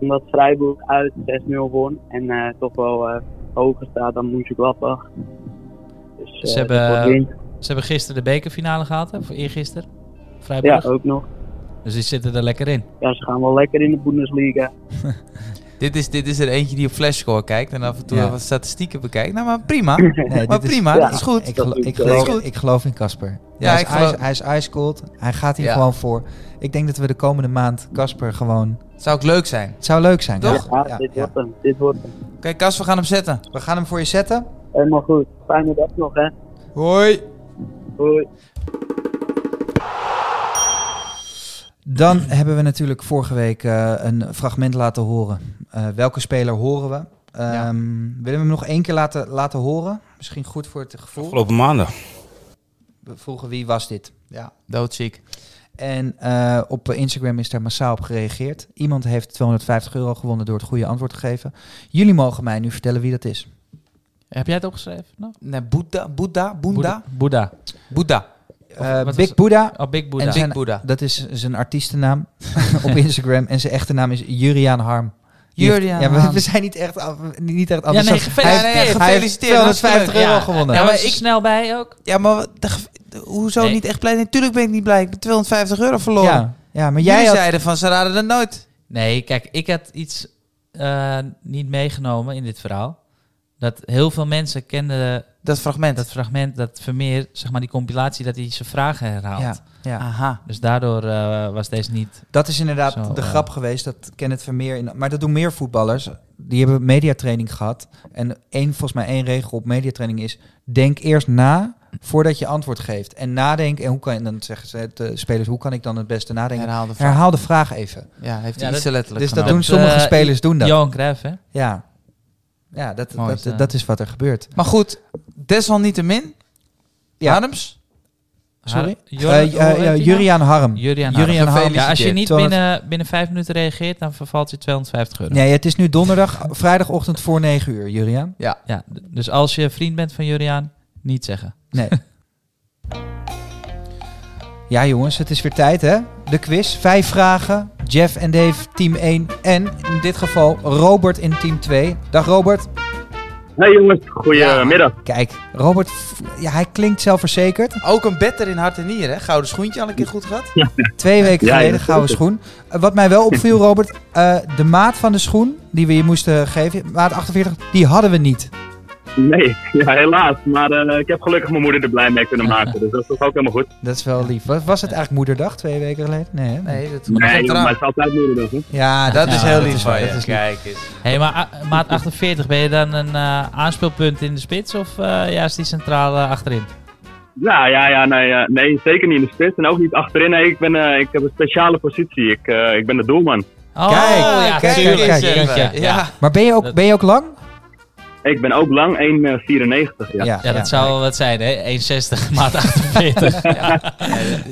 I: Omdat Vrijboerig uit 6-0 won en eh, toch wel eh, hoger staat dan Moesje Dus, eh,
C: Ze hebben-
I: dat wordt winst.
C: Ze hebben gisteren de bekerfinale gehad, hè? Of eergisteren?
I: Ja,
C: Vrijdag.
I: ook nog.
C: Dus die zitten er lekker in.
I: Ja, ze gaan wel lekker in de Bundesliga.
B: Dit is, dit is er eentje die op flashscore kijkt en af en toe
A: Ja.
B: wat statistieken bekijkt. Nou, maar prima.
A: Nee,
B: maar
A: dit is-
B: prima,
I: ja.
B: dat is goed.
A: Ik,
I: Dat
A: gelo-
I: doe ik
A: ik,
I: wel.
A: geloof,
B: Dat is goed.
A: ik geloof in Casper.
B: Ja,
A: hij,
B: ik
A: is
B: geloof-
A: ice, hij is ice cold. Hij gaat hier
B: Ja.
A: gewoon voor. Ik denk dat we de komende maand Casper gewoon...
B: Zou ook leuk zijn.
A: Het zou leuk zijn.
B: Toch?
A: Casper.
I: Ja,
A: Ja,
I: dit
A: ja.
I: wordt hem. Dit wordt hem.
B: Oké, Kas, we gaan hem zetten.
A: We gaan hem voor je zetten.
I: Helemaal goed. Fijne dag nog, hè.
B: Hoi.
I: Hoi.
A: Dan hebben we natuurlijk vorige week eh, een fragment laten horen. Eh, welke speler horen we?
B: Ja.
A: Ehm, Willen we hem nog één keer laten, laten horen? Misschien goed voor het gevoel.
J: Afgelopen maanden.
A: We vroegen wie was dit?
B: Ja, doodziek.
A: En eh, op Instagram is daar massaal op gereageerd. Iemand heeft 250 euro gewonnen door het goede antwoord te geven. Jullie mogen mij nu vertellen wie dat is.
C: Heb jij het opgeschreven? Nou?
B: Nee, Boeddha, Boeddha, Boeddha,
C: Boeddha.
B: Boeddha.
A: Eh,
C: wat
A: Big
C: was-
A: Buddha.
C: Oh, Big Boeddha.
A: En
B: Big
A: zijn-
B: Boeddha.
A: Dat is zijn artiestennaam op Instagram. En zijn echte naam is Juriaan Harm. Die heeft-
B: Juriaan
A: ja, we,
B: Harm.
A: we zijn niet echt, af- niet echt
C: nee,
A: enthousiast.
C: gefeliciteerd.
A: Hij heeft-
B: Ja, nee,
A: hij heeft
B: gefeliciteerd,
A: 250
B: hartstikke
A: euro
B: leuk.
A: gewonnen.
C: Ja,
B: Ja, maar
C: was ik
B: ik-
C: snel bij ook.
B: Ja, maar wat- de ge- hoezo
C: Nee.
B: niet echt blij? Natuurlijk ben ik niet blij. Ik ben 250 euro verloren.
A: ja, ja, maar
B: Jullie
A: jij had...
B: zeiden van ze raden dat nooit.
C: Nee, kijk, ik had iets eh, niet meegenomen in dit verhaal. Dat heel veel mensen kenden
B: Dat fragment.
C: dat fragment, dat Vermeer, zeg maar die compilatie, dat hij zijn vragen herhaalt.
A: Ja, ja,
B: Aha.
C: Dus daardoor eh, was deze niet...
A: dat is inderdaad
C: Zo,
A: de
C: eh.
A: grap geweest. Dat Kenneth Vermeer... In, maar dat doen meer voetballers. Die hebben mediatraining gehad. En één, volgens mij één regel op mediatraining is... Denk eerst na voordat je antwoord geeft. En nadenk... En hoe kan je dan zeggen ze, de spelers... Hoe kan ik dan het beste nadenken?
B: Herhaalde vraag.
A: Herhaal de vraag even.
B: Ja, heeft
C: Ja,
B: hij iets te
C: dat-
B: letterlijk
A: Dus dat
B: genomen.
A: doen sommige
C: eh,
A: spelers doen dat.
C: Johan Cruijff, hè?
A: Ja, ja dat,
B: Mooi,
A: dat,
C: ja.
A: dat is wat er gebeurt.
B: Maar goed, desalniettemin.
A: Ja.
B: Adams.
A: Sorry?
C: Har- Jor-
A: Eh
C: hoe heet
A: eh,
C: die
A: eh,
C: nou?
A: Juriaan Harm.
C: Juriaan
A: Juriaan
C: Harm.
A: Harm.
C: Ja, als je niet
A: Tweehonderd-
C: binnen, binnen vijf minuten reageert, dan vervalt je 250 euro.
A: Nee, het is nu donderdag, vrijdagochtend voor 9 uur, Juriaan.
C: Ja, d- dus als je vriend bent van Juriaan, niet zeggen.
A: Nee. ja, jongens, het is weer tijd, hè? De quiz. Vijf vragen. Jeff en Dave, team 1. En in dit geval Robert in team 2. Dag, Robert.
I: Hey jongens, goedemiddag.
A: Kijk, Robert, f- ja, hij klinkt zelfverzekerd.
B: Ook een better in hart en nieren. hè? Gouden schoentje al een keer goed gehad.
A: Twee weken
I: Ja, ja,
A: geleden,
I: dat
A: gouden
I: klopt.
A: schoen. Eh, Wat mij wel opviel, Robert, eh, de maat van de schoen die we je moesten geven, maat 48, die hadden we niet.
I: Nee, ja, helaas. Maar eh, ik heb gelukkig mijn moeder er blij mee kunnen maken. Dus dat is toch ook helemaal goed.
A: Dat is wel lief. Was, was het eigenlijk moederdag twee weken geleden? Nee, hè?
B: Nee, dat komt
I: Nee, joh, maar
B: eraan.
I: het is altijd moederdag. Hè?
A: Ja,
B: Dat is
A: ja,
B: heel
A: dat
B: lief
A: waar,
B: van je.
A: dat is lief.
B: Kijk eens.
C: hey, maar a- maat 48, ben je dan een eh, aanspeelpunt in de spits of eh, juist die centrale achterin?
I: Ja, ja, ja, nee, eh, nee, zeker niet in de spits en ook niet achterin. Nee, ik, ben, eh, ik heb een speciale positie. Ik, eh, ik ben de doelman.
C: Oh,
B: Kijk,
C: ja,
B: Ah, kijk,
C: tuurlijk,
B: kijk,
C: jeetje.
B: kijk,
C: ja,
B: kijk. Ja.
A: Maar ben je ook,
C: Dat-
A: ben je ook lang?
I: Ik ben ook lang 1,94. Ja.
C: Ja, dat zou wel wat zijn, hè? 1,60 maat 48. ja.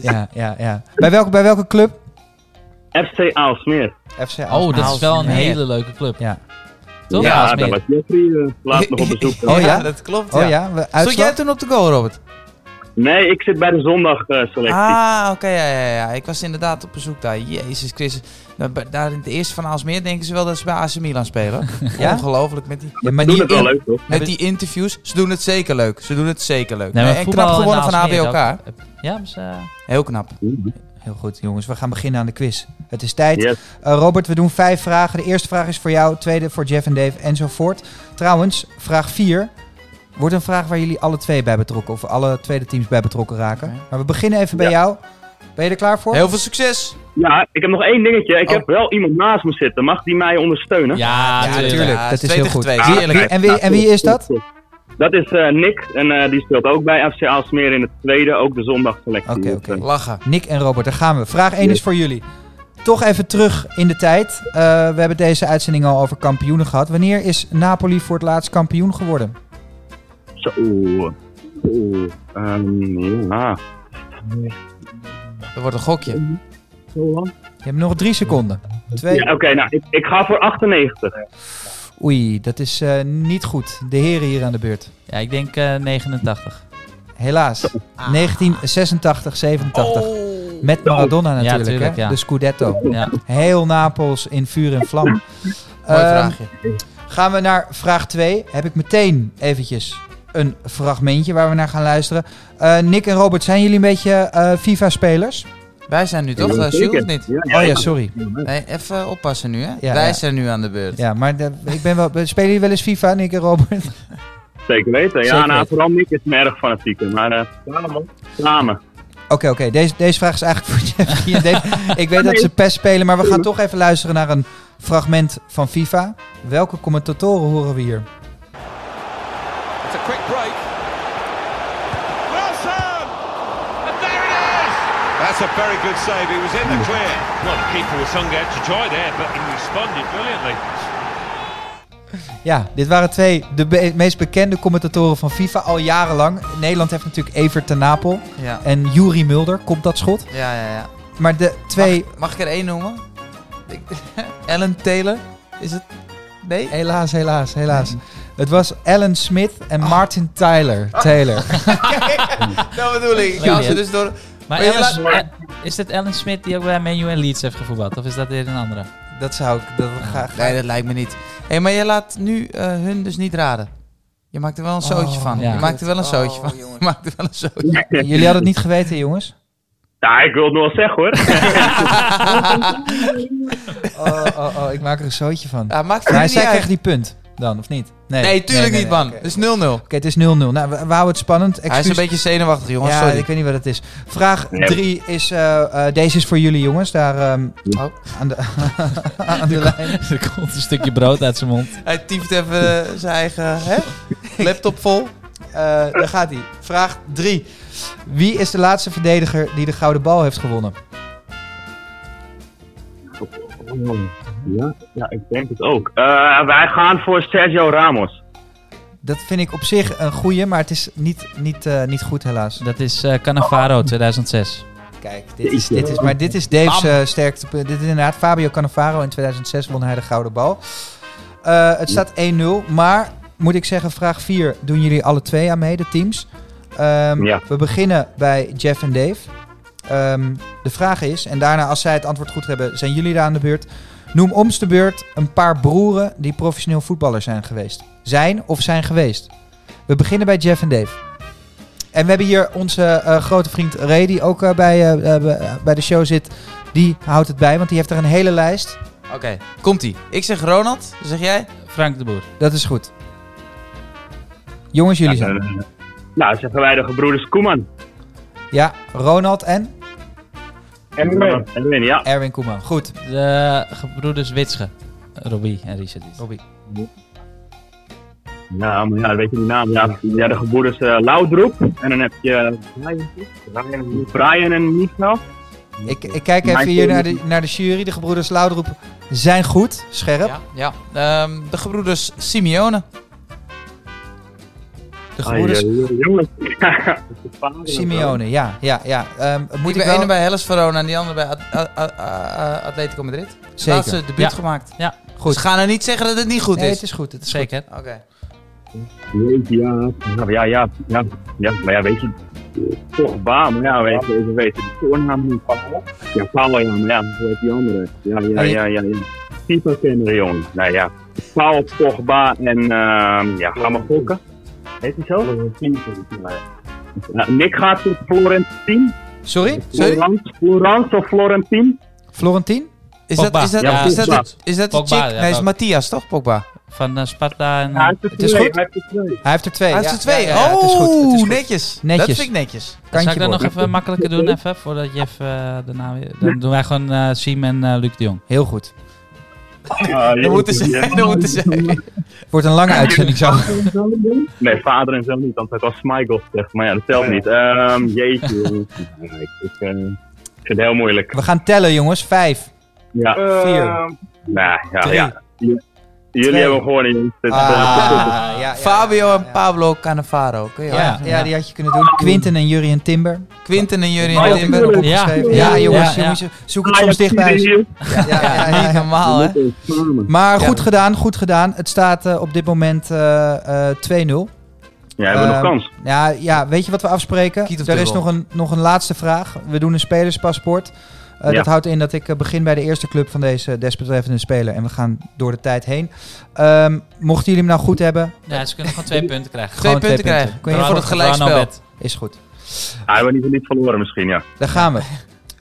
A: Ja, ja, ja. Bij, welke, bij welke club?
I: FC Aalsmeer.
A: FC
C: Oh, dat is wel een
A: Aalsmeer.
C: hele leuke club.
A: Ja.
C: Toch?
I: ja,
C: Aalsmeer?
I: daar was Jeffrey eh, laatst nog op bezoek.
A: Oh ja?
B: dat klopt.
A: Oh
B: Ja.
A: ja, we-
B: Stond jij
A: uitslag?
B: toen op de goal, Robert?
I: Nee, ik zit bij de eh, zondagselectie.
B: Ah, oké, ja, ja, ja. Ik was inderdaad op bezoek daar. Jezus Christus. Nou, bij- Daar in het eerste van Aalsmeer denken ze wel dat ze bij AC Milan spelen.
A: Ja?
B: Ongelooflijk met die,
A: Ja, maar
I: Doen
A: die-
I: het wel leuk, toch?
B: met die interviews. Ze doen het zeker leuk. Ze doen het zeker leuk.
C: Nee, maar
B: en
C: voetbal
B: knap gewonnen
C: en
B: van
C: Aalsmeer is
B: ABLK.
C: ook- Ja, maar ze-
B: Heel knap.
A: Heel goed, jongens. We gaan beginnen aan de quiz. Het is tijd.
I: Yes.
A: Eh, Robert, we doen vijf vragen. De eerste vraag is voor jou, de tweede voor Jeff en Dave enzovoort. Trouwens, vraag vier wordt een vraag waar jullie alle twee bij betrokken... of alle tweede teams bij betrokken raken.
B: Oké.
A: Maar we beginnen even bij
I: Ja.
A: jou. Ben je er klaar voor?
B: Heel veel succes.
I: Ja, ik heb nog één dingetje. Ik
A: Oh.
I: heb wel iemand naast me zitten. Mag die mij ondersteunen?
C: ja, tuurlijk.
A: tuurlijk.
B: Ja,
A: dat is
B: twee
A: heel
B: tegen
A: goed.
B: twee.
A: Wie-
B: Eerlijk.
A: wie- en, wie, en wie is dat?
I: Dat is eh, Nick. En eh, die speelt ook bij FC Aalsmeer in het tweede. Ook de zondagselectie. Dus,
A: Oké, oké.
B: Lachen.
A: Nick en Robert, daar gaan we. Vraag 1 is voor jullie. Toch even terug in de tijd. Eh, we hebben deze uitzending al over kampioenen gehad. Wanneer is Napoli voor het laatst kampioen geworden?
I: eh, Zo. Zo. Ehm, ja.
B: Dat wordt een gokje.
A: Je hebt nog drie seconden. Twee.
I: Ja, Oké, nou, ik, ik ga voor 98.
A: Oei, dat is eh, niet goed. De heren hier aan de beurt.
C: Ja, ik denk eh, 89.
A: Helaas. 1986, 87. Met Maradona natuurlijk,
C: tuurlijk,
A: hè?
C: ja.
A: de Scudetto.
C: Ja.
A: Heel Napels in vuur en vlam.
B: Mooi
A: Ehm,
B: vraagje.
A: Gaan we naar vraag 2. Heb ik meteen eventjes een fragmentje waar we naar gaan luisteren. Eh, Nick en Robert, zijn jullie een beetje eh, FIFA-spelers?
B: Wij zijn nu toch, eh, Jules, of niet?
I: Ja, ja.
A: Oh ja, sorry.
B: Nee, even oppassen nu, hè.
A: Ja,
B: Wij
A: ja.
B: zijn nu aan de beurt.
A: Ja, maar de- ik ben wel, spelen jullie wel eens FIFA, Nick en Robert?
I: Zeker weten. Ja,
A: Zeker
I: nou,
A: weten.
I: vooral Nick is me erg fanatiek. Maar eh, samen. Samen.
A: Oké, oké. Deze, deze vraag is eigenlijk voor Jeffrey en Dave. Ik weet dat ze PES spelen, maar we gaan toch even luisteren naar een fragment van FIFA. Welke commentatoren horen we hier?
K: It's a quick break.
D: Wilson! And there it is! That's a very good save. He was in the clear.
K: Well, the keeper was hung out to try there, but he responded brilliantly.
A: Ja, dit waren twee de be- meest bekende commentatoren van FIFA al jarenlang. Nederland heeft natuurlijk Evert ten Napel
B: Ja,
A: en Juri Mulder. Komt dat schot?
B: ja, ja. ja.
A: Maar de twee...
B: Mag ik er één noemen? Ik, Ellen Taylor? Is het? Nee?
A: Helaas, helaas, helaas. Het was Alan Smith en Martin Tyler. Taylor.
B: Dat bedoel ik. Ik
C: Ja,
B: hou ze
C: ja.
B: dus door...
C: Maar
B: Maar je
C: Ellen-
B: laat-
C: eh, is dit Ellen Smit die ook bij Man U en Leeds heeft gevoetbald? Of is dat weer een andere?
A: Dat zou ik... Dat ga, ga-
B: Nee, dat lijkt me niet. Hé, maar je laat nu eh, hun dus niet raden. Je maakt er wel een
A: Oh,
B: zootje van.
C: ja.
B: Je maakt er wel een zootje van. Je maakt er wel een zootje
A: Jullie hadden het niet geweten, jongens?
I: Ja, ik wil het nog wel zeggen hoor.
A: Oh, oh, oh, ik maak er een zootje van.
B: Ja, maakt
A: Maar
B: het niet
A: zij
B: uit.
A: krijgt die punt dan, of niet?
B: Nee, tuurlijk
A: nee,
B: niet,
A: nee,
B: man.
A: oké.
B: Dus 0-0.
A: Oké, het is 0-0. Nou, we, we houden het spannend.
B: Hij is
A: Excuus-
B: een beetje zenuwachtig, jongens.
A: ja,
B: Sorry.
A: ik weet niet wat het is. Vraag
I: Nee.
A: 3 is... eh, eh, deze is voor jullie, jongens. Daar ehm,
B: Oh.
A: aan de, aan de lijn.
C: er komt een stukje brood uit zijn mond.
B: Hij typt even eh, zijn eigen hè? laptop vol.
A: Eh, daar gaat hij. Vraag 3. Wie is de laatste verdediger die de gouden bal heeft gewonnen?
I: Ja, ja, ik denk het ook. Eh, wij gaan voor Sergio Ramos.
A: Dat vind ik op zich een goeie, maar het is niet, niet, eh, niet goed helaas.
C: Dat is eh Cannavaro 2006.
A: Kijk, dit is, dit is, maar dit is Dave's eh, sterkte. punt. Dit is inderdaad Fabio Cannavaro. In 2006 won hij de gouden bal. Eh, het staat 1-0, maar moet ik zeggen, vraag 4 doen jullie alle twee aan mee, de teams. Ehm,
I: Ja.
A: We beginnen bij Jeff en Dave. Ehm, de vraag is, en daarna als zij het antwoord goed hebben, zijn jullie daar aan de beurt. Noem ons de beurt een paar broeren die professioneel voetballer zijn geweest. Zijn of zijn geweest. We beginnen bij Jeff en Dave. En we hebben hier onze eh, grote vriend Ray, die ook eh, bij, eh, eh, bij- bij de show zit. Die houdt het bij, want die heeft er een hele lijst.
B: Oké, komt-ie. Ik zeg Ronald, dan zeg jij?
C: Frank de Boer.
A: Dat is goed. Jongens, jullie zijn.
I: Eh, nou, zeggen wij de gebroeders Koeman.
A: Ja, Ronald en
I: Erwin. Erwin, ja.
A: Erwin Koeman. Goed.
C: De gebroeders Witsche. Robbie en Richard. Robbie.
I: Ja, maar ja, weet je die naam? Ja, ja de eh, gebroeders eh Laudroep. En dan heb je Brian en Michael.
A: Ik, ik kijk even hier naar de, naar de jury. De gebroeders Laudroep zijn goed, scherp.
B: Ja, ja. Ehm, de gebroeders Simeone.
A: De gebroeders
I: eh, Jongens. Ah, Ja, dat is spannend.
A: Simeone, ja. ja, ja. Ehm, moet
B: Moet
A: ik
B: die
A: wel...
B: ene bij Hellas Verona en die andere bij At- A- A- A- Atletico Madrid.
A: Zeker.
B: Laatste debuut
C: Ja.
B: gemaakt.
C: Ja.
B: Goed. Ze gaan er niet zeggen dat het niet goed
A: Nee,
B: is.
A: het is goed. Het is goed.
C: Zeker.
B: Oké.
I: Ja, Nou, ja, ja, ja, ja, maar ja, weet je, toch baan, maar ja, weet je, we weten de voornaam niet. Ja, Paul, ja, maar ja, hoe heet die andere? Ja, ja,
A: Hey.
I: ja, ja, ja. Type kinderen, jongen. Nou ja, Paul, Pogba en, ehm ja, ga maar gokken. Heet die zo? Ja, Nick gaat voor Florentine.
A: Sorry? Sorry?
I: Florence, Florence of Florentine?
A: Florentien?
B: Is
C: Pogba.
B: dat, is dat,
I: Ja,
B: is dat,
I: Pogba.
B: de- is dat de
C: Pogba,
B: chick?
C: ja,
B: nee, is
C: ook.
B: Matthias toch, Pogba?
C: Van eh, Sparta en...
I: Hij heeft er
A: Het is
I: twee,
A: goed.
I: hij heeft er twee.
A: Hij heeft er twee.
B: Hij
A: ja.
B: heeft er twee.
A: Ja, ja, ja,
B: oh,
A: het is goed. Het is goed.
B: netjes.
A: Netjes.
B: Dat vind ik netjes.
C: Zou
A: Kantje
C: ik dat nog
A: nog
C: even makkelijker doen, even, voordat Jeff eh, daarna weer... Dan doen wij gewoon eh Siem en eh, Luc de Jong.
A: Heel goed.
I: Ah,
B: Dat moeten ze.
I: jongens, ja.
B: Dat moeten ze.
A: Wordt een lange uitzending zo.
I: Nee, vader en zoon niet, want hij was Michael zeg. Maar ja, dat telt niet. Ehm jeetje. jongens. Ja, ik, ik, eh, ik vind het heel moeilijk.
A: We gaan tellen, jongens. Vijf.
I: Ja,
A: Vier.
I: nou ja,
A: Drie.
I: ja. J- Jullie
A: Twee.
I: hebben gewonnen, jongens. Dit is
A: Ah,
I: gewoon-
A: ja, ja,
B: Fabio en
A: ja.
B: Pablo Cannavaro. Kun je wel.
A: Ja, ja, die had je kunnen doen. Quinten en Jurien Timber.
B: Quinten en Jurien
A: Had ik
B: Timber.
A: erop
C: Ja.
A: opgeschreven. Ja,
C: Ja,
A: jongens.
C: ja, ja.
A: jongens, Zoek het
I: Ah, ja,
A: soms dichtbij.
I: zie
A: Ja,
I: je
A: ja, ja, ja,
B: Niet
A: ja.
B: normaal, hè?
I: hier? Dit is samen.
A: Maar goed gedaan, goed gedaan. Het staat eh, op dit moment eh, eh, 2-0.
I: Ja, hebben we nog
A: Ehm,
I: kans?
A: Ja, ja, weet je wat we afspreken?
B: Kiet of
A: Er is
B: dubbel.
A: nog een, nog een laatste vraag. We doen een spelerspaspoort. Eh,
I: Ja.
A: Dat houdt in dat ik eh, begin bij de eerste club van deze desbetreffende speler. En we gaan door de tijd heen. Ehm, mochten jullie hem nou goed hebben,
C: Ja, ze kunnen gewoon twee punten krijgen.
B: Twee
A: Gewoon twee punten.
B: punten krijgen.
A: Kun je
B: voor het gelijkspel.
A: is goed.
I: Hij wordt Ah, niet, niet verloren misschien, ja.
A: Daar gaan we.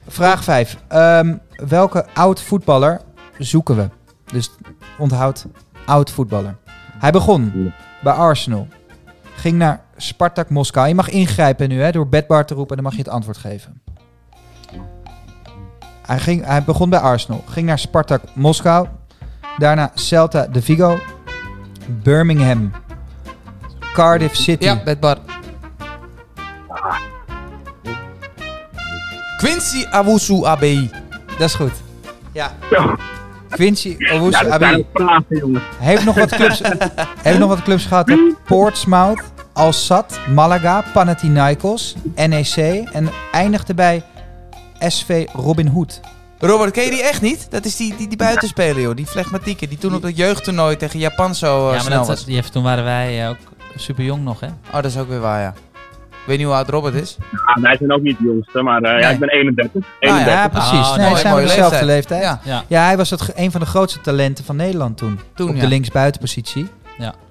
A: Vraag 5. welke oud voetballer zoeken we? Dus onthoud oud voetballer. Hij begon bij Arsenal. Ging naar Spartak Moskou. Je mag ingrijpen nu hè, door Bedbar te roepen en dan mag je het antwoord geven. Hij, ging, hij begon bij Arsenal. Ging naar Spartak Moskou. Daarna Celta de Vigo. Birmingham. Cardiff City.
B: Ja, bedbar. Quincy Awusu ABI.
A: Dat is goed. Ja.
I: Zo.
A: Quincy Owusu
I: Ja, dat zijn ook vragen, jongens.
A: Heeft nog wat clubs, heeft nog wat clubs gehad. hè? Portsmouth, Al Sadd, Malaga, Panathinaikos, NEC en eindigde bij SV Robin Hood.
B: Robert, ken je die echt niet? Dat is die, die, die buitenspeler, joh. Die flegmatieke. Die toen op dat jeugdtoernooi tegen Japan zo eh,
C: Ja,
B: snel
C: maar
B: was.
C: dat, Jeff, toen waren wij eh, ook super jong nog, hè?
B: Oh, dat is ook weer waar, ja. Ik weet niet hoe oud Robert is.
I: Ja, Ah, wij zijn ook niet de jongste, maar eh, ja,
B: Nee.
I: ik ben 31.
B: Ah, ja.
I: 31.
A: Nou Ja, precies.
C: Oh,
A: nee,
C: mooi,
A: zijn we
B: mooie
A: dezelfde leeftijd.
B: leeftijd.
C: Ja.
A: Ja, hij was het, ge- een van de grootste talenten van Nederland toen.
B: Toen,
A: op
B: ja.
A: de linksbuitenpositie.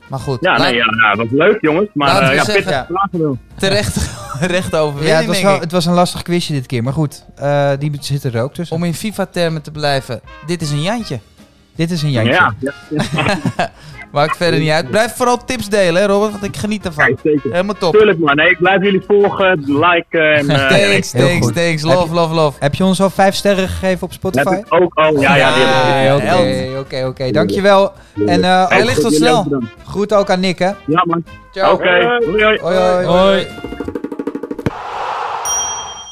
B: Maar goed.
I: Ja,
B: laat-
I: nee, ja, nou, dat was leuk, jongens. Maar
B: Laten
I: eh,
B: we
I: ja,
B: zeggen-
I: pittige vragen wel.
B: terecht recht
A: Ja, het
B: overwinning,
A: was,
B: denk
A: wel,
B: ik.
A: het was een lastig quizje dit keer. Maar goed, eh, die zit er ook tussen.
B: Om in FIFA-termen te blijven. Dit is een Jantje.
A: Dit is een jantje.
I: Ja, ja,
B: Maakt verder niet uit. Blijf vooral tips delen, hè, Robert, want ik geniet ervan.
I: zeker.
B: Helemaal top.
I: Tuurlijk, man. Nee, ik blijf jullie volgen, liken en... eh,
B: Thanks,
A: Heel
B: thanks,
A: goed.
B: thanks.
A: Heb
B: Love,
A: je-
B: love, love.
A: Heb je ons al vijf sterren gegeven op
I: Dat
A: Spotify?
I: heb ik ook al. Ja, ja, die heb ik-
B: Ja,
A: Oké,
B: held.
A: oké, oké, oké. Dankjewel. En eh,
I: Hey,
B: Hij ligt tot
I: jullie
B: snel.
I: ook bedankt.
A: groet ook aan Nick, hè.
I: Ja, man.
B: Ciao.
I: Oké. Hoi, hoi.
A: Hoi, hoi.
C: Hoi.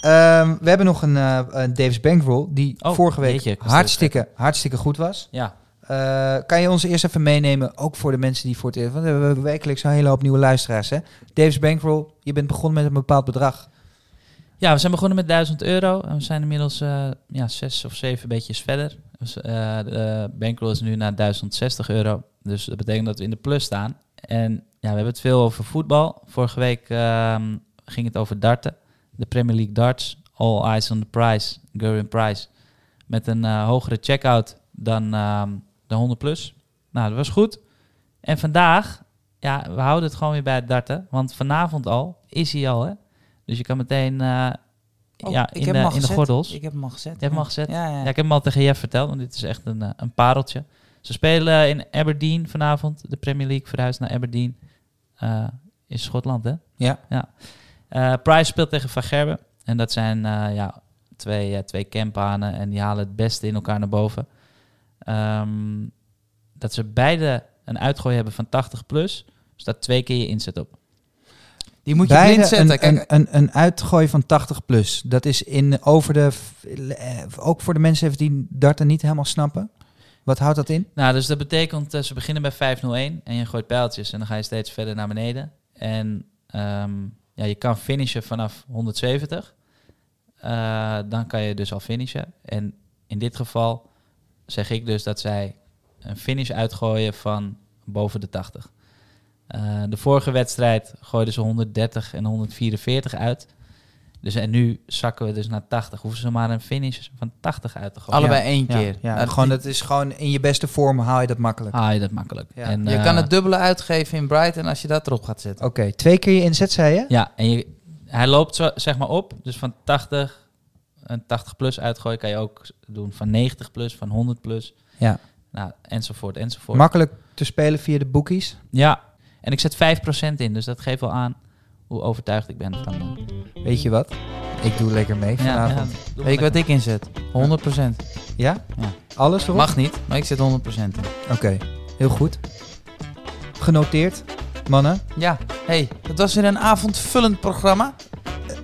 A: Ehm, we hebben nog een eh eh, Davis Bankroll die
C: Oh,
A: vorige week
C: jeetje, ik was er
A: hartstikke, hartstikke goed was.
C: Ja.
A: Eh, kan je ons eerst even meenemen, ook voor de mensen die voor het eerst... Want we hebben wekelijks een hele hoop nieuwe luisteraars, hè? Davis Bankroll, je bent begonnen met een bepaald bedrag.
C: Ja, we zijn begonnen met 1000 euro en we zijn inmiddels eh, ja, zes of zeven beetjes verder. Dus, eh, de bankroll is nu naar 1060 euro, dus dat betekent dat we in de plus staan. En ja, we hebben het veel over voetbal. Vorige week ehm, ging het over darten, de Premier League darts. All eyes on the prize, Gurion Prize. Met een eh, hogere checkout dan ehm, de 100 plus. Nou, dat was goed. En vandaag, ja, we houden het gewoon weer bij het darten. Want vanavond al, is hij al hè. Dus je kan meteen eh,
B: Oh,
C: ja,
B: ik
C: in,
B: heb
C: de,
B: hem al
C: in de
B: gezet.
C: gordels.
B: Ik heb hem al gezet.
C: Je hebt hem al gezet?
B: Ja, ja.
C: Ja, ik heb hem al tegen Jeff verteld, want dit is echt een, eh, een pareltje. Ze spelen in Aberdeen vanavond. De Premier League verhuisd naar Aberdeen. Eh, in Schotland, hè?
A: Ja.
C: ja. Eh, Price speelt tegen Van Gerwen. En dat zijn eh, ja, twee, eh, twee campanen. En die halen het beste in elkaar naar boven. Ehm, dat ze beide een uitgooi hebben van 80 plus. Dus daar twee keer je inzet op.
B: Die moet je
A: Bijna
B: blind zetten.
A: Een,
B: Kijk,
A: een, een, een uitgooi van 80 plus. Dat is in over de. v- eh, Ook voor de mensen even die darten niet helemaal snappen. Wat houdt dat in?
C: Nou, dus dat betekent, eh, ze beginnen bij 501 en je gooit pijltjes en dan ga je steeds verder naar beneden. En ehm, ja, je kan finishen vanaf 170. Eh, dan kan je dus al finishen. En in dit geval zeg ik dus dat zij een finish uitgooien van boven de 80. Eh, de vorige wedstrijd gooiden ze 130 en 144 uit. Dus en nu zakken we dus naar 80. Hoeven ze maar een finish van 80 uit te gooien.
B: allebei één
A: Ja,
B: keer. Ah.
A: ja,
B: Nou,
A: gewoon, dat is gewoon in je beste vorm haal je dat makkelijk.
C: Haal je Ah, dat makkelijk.
A: Ja.
C: En,
B: je
C: eh,
B: kan het dubbele uitgeven in Brighton als je dat erop gaat zetten.
A: Oké, twee keer je inzet, zei je?
C: Ja, en je, hij loopt zo, zeg maar op. Dus van 80, een 80 plus uitgooi kan je ook doen. Van 90 plus, van 100 plus.
A: Ja.
C: Nou, enzovoort, enzovoort.
A: Makkelijk te spelen via de bookies.
C: ja, en ik zet 5% in. Dus dat geeft wel aan hoe overtuigd ik ben van... eh,
A: Weet je wat? Ik doe lekker mee
C: ja, ja,
A: vanavond.
C: doe maar
B: Weet je
C: lekker.
B: wat ik inzet? 100%.
A: Ja?
B: Ja.
A: Alles erop?
B: Mag niet, maar ik zet 100% in.
A: Oké, heel goed. Genoteerd, mannen.
B: Ja, hey, het was weer een avondvullend programma.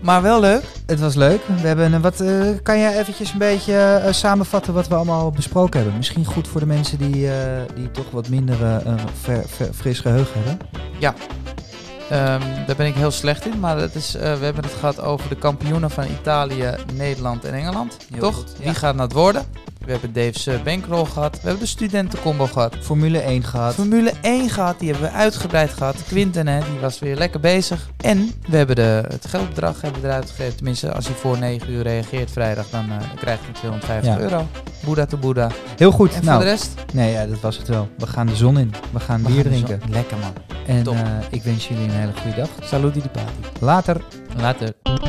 B: Maar wel leuk.
A: Het was leuk. We hebben een wat, eh, kan jij eventjes een beetje eh, samenvatten wat we allemaal besproken hebben? Misschien goed voor de mensen die, eh, die toch wat minder eh, een ver- ver- fris geheugen hebben.
B: Ehm, daar ben ik heel slecht in. Maar dat is, eh, we hebben het gehad over de kampioenen van Italië, Nederland en Engeland.
A: Heel
B: toch?
A: goed, ja.
B: Wie gaat naar het worden? We hebben Dave's eh, bankroll gehad. We hebben de studentencombo gehad.
A: Formule 1 gehad.
B: Formule 1 gehad, die hebben we uitgebreid gehad. Quinten, hè, die was weer lekker bezig. En we hebben de, het geldbedrag hebben we eruit gegeven. Tenminste, als hij voor 9 uur reageert vrijdag, dan eh, krijgt hij 250
A: Ja.
B: euro. Boeddha to Boeddha.
A: Heel goed.
B: En
A: nou,
B: voor de rest,
A: nee, ja, dat was het wel. We gaan de zon in. We gaan
B: we
A: bier
B: gaan dus
A: drinken.
B: wel- Lekker man.
A: En
B: Top.
A: eh, ik wens jullie een hele goede dag.
B: Salut die party.
A: Later.
C: Later.